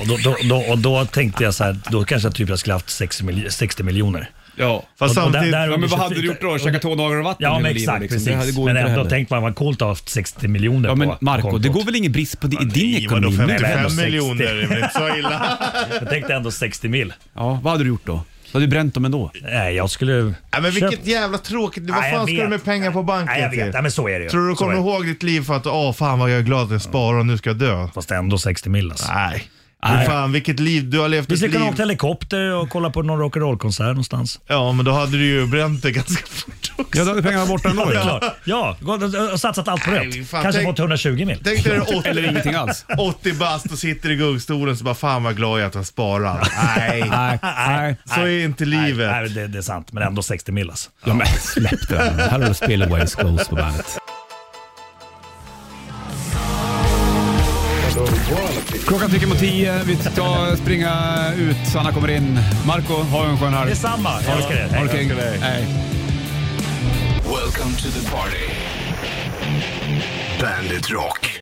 Speaker 7: och, då, då, då, och då tänkte jag så här, då kanske jag typ jag skulle haft 60, mil, 60 miljoner.
Speaker 2: Ja.
Speaker 3: Fast
Speaker 7: Och- och där-
Speaker 3: samtidigt...
Speaker 7: där-
Speaker 2: ja men vad hade du gjort då? Käkat två dagar och vatten
Speaker 7: Ja,
Speaker 2: hela
Speaker 7: men
Speaker 2: livet,
Speaker 7: exakt.
Speaker 2: liksom? Det hade-
Speaker 7: Precis.
Speaker 2: går
Speaker 7: Men
Speaker 2: inte det
Speaker 7: ändå
Speaker 2: heller.
Speaker 7: tänkte man, vad coolt att ha haft 60 miljoner
Speaker 2: Ja,
Speaker 7: på
Speaker 2: men Marco,
Speaker 7: kontot.
Speaker 2: det går väl ingen brist på det, i din
Speaker 3: Nej, vadå
Speaker 2: ekonomi?
Speaker 3: 55
Speaker 7: 60.
Speaker 3: miljoner? Det är väl inte så illa?
Speaker 7: Jag tänkte ändå 60 mil.
Speaker 2: Ja, vad hade du gjort då? Då hade du bränt dem ändå.
Speaker 7: Nej, jag skulle...
Speaker 3: Nej, men
Speaker 7: köpa-
Speaker 3: vilket jävla tråkigt. Vad
Speaker 7: Nej, jag
Speaker 3: fan ska
Speaker 7: vet.
Speaker 3: du med pengar på banken
Speaker 7: Nej, jag vet.
Speaker 3: till?
Speaker 7: Nej, men så är det ju.
Speaker 3: Tror du du
Speaker 7: Så är
Speaker 3: kommer
Speaker 7: det.
Speaker 3: ihåg ditt liv för att åh fan vad jag är glad att jag sparar och nu ska jag dö?
Speaker 7: Fast ändå 60 mil alltså.
Speaker 3: Nej. Fy fan vilket liv, du har levt
Speaker 7: Vi
Speaker 3: ett
Speaker 7: skulle kunna
Speaker 3: liv.
Speaker 7: åka helikopter och kolla på någon rock'n'roll-konsert någonstans.
Speaker 3: Ja, men då hade du ju bränt det ganska fort också.
Speaker 2: Ja, då hade pengarna varit borta ändå.
Speaker 7: Ja,
Speaker 2: ja.
Speaker 7: klart. ja gå- och satsat allt på
Speaker 3: Nej,
Speaker 7: rätt.
Speaker 3: fan,
Speaker 7: Kanske
Speaker 3: tänk-
Speaker 7: fått 120 mil.
Speaker 3: Tänk dig
Speaker 2: Eller
Speaker 3: det 80,
Speaker 2: ingenting alls.
Speaker 3: 80 bast och sitter i gungstolen så bara fan vad glad jag är att jag sparar. Nej,
Speaker 2: Nej, nej.
Speaker 3: så är inte livet.
Speaker 7: Nej, det, det är sant, men ändå 60 mil alltså.
Speaker 2: Ja, men släpp det där. Här har du Spillaway Schools på bandet. Klockan tickar mot tio. Vi ska springa ut. Sanna kommer in. Marco, ha en skön helg.
Speaker 7: Detsamma, jag älskar det.
Speaker 2: Ha
Speaker 7: Hej.
Speaker 2: det kring. Hej.
Speaker 1: Welcome to the party. Bandit Rock.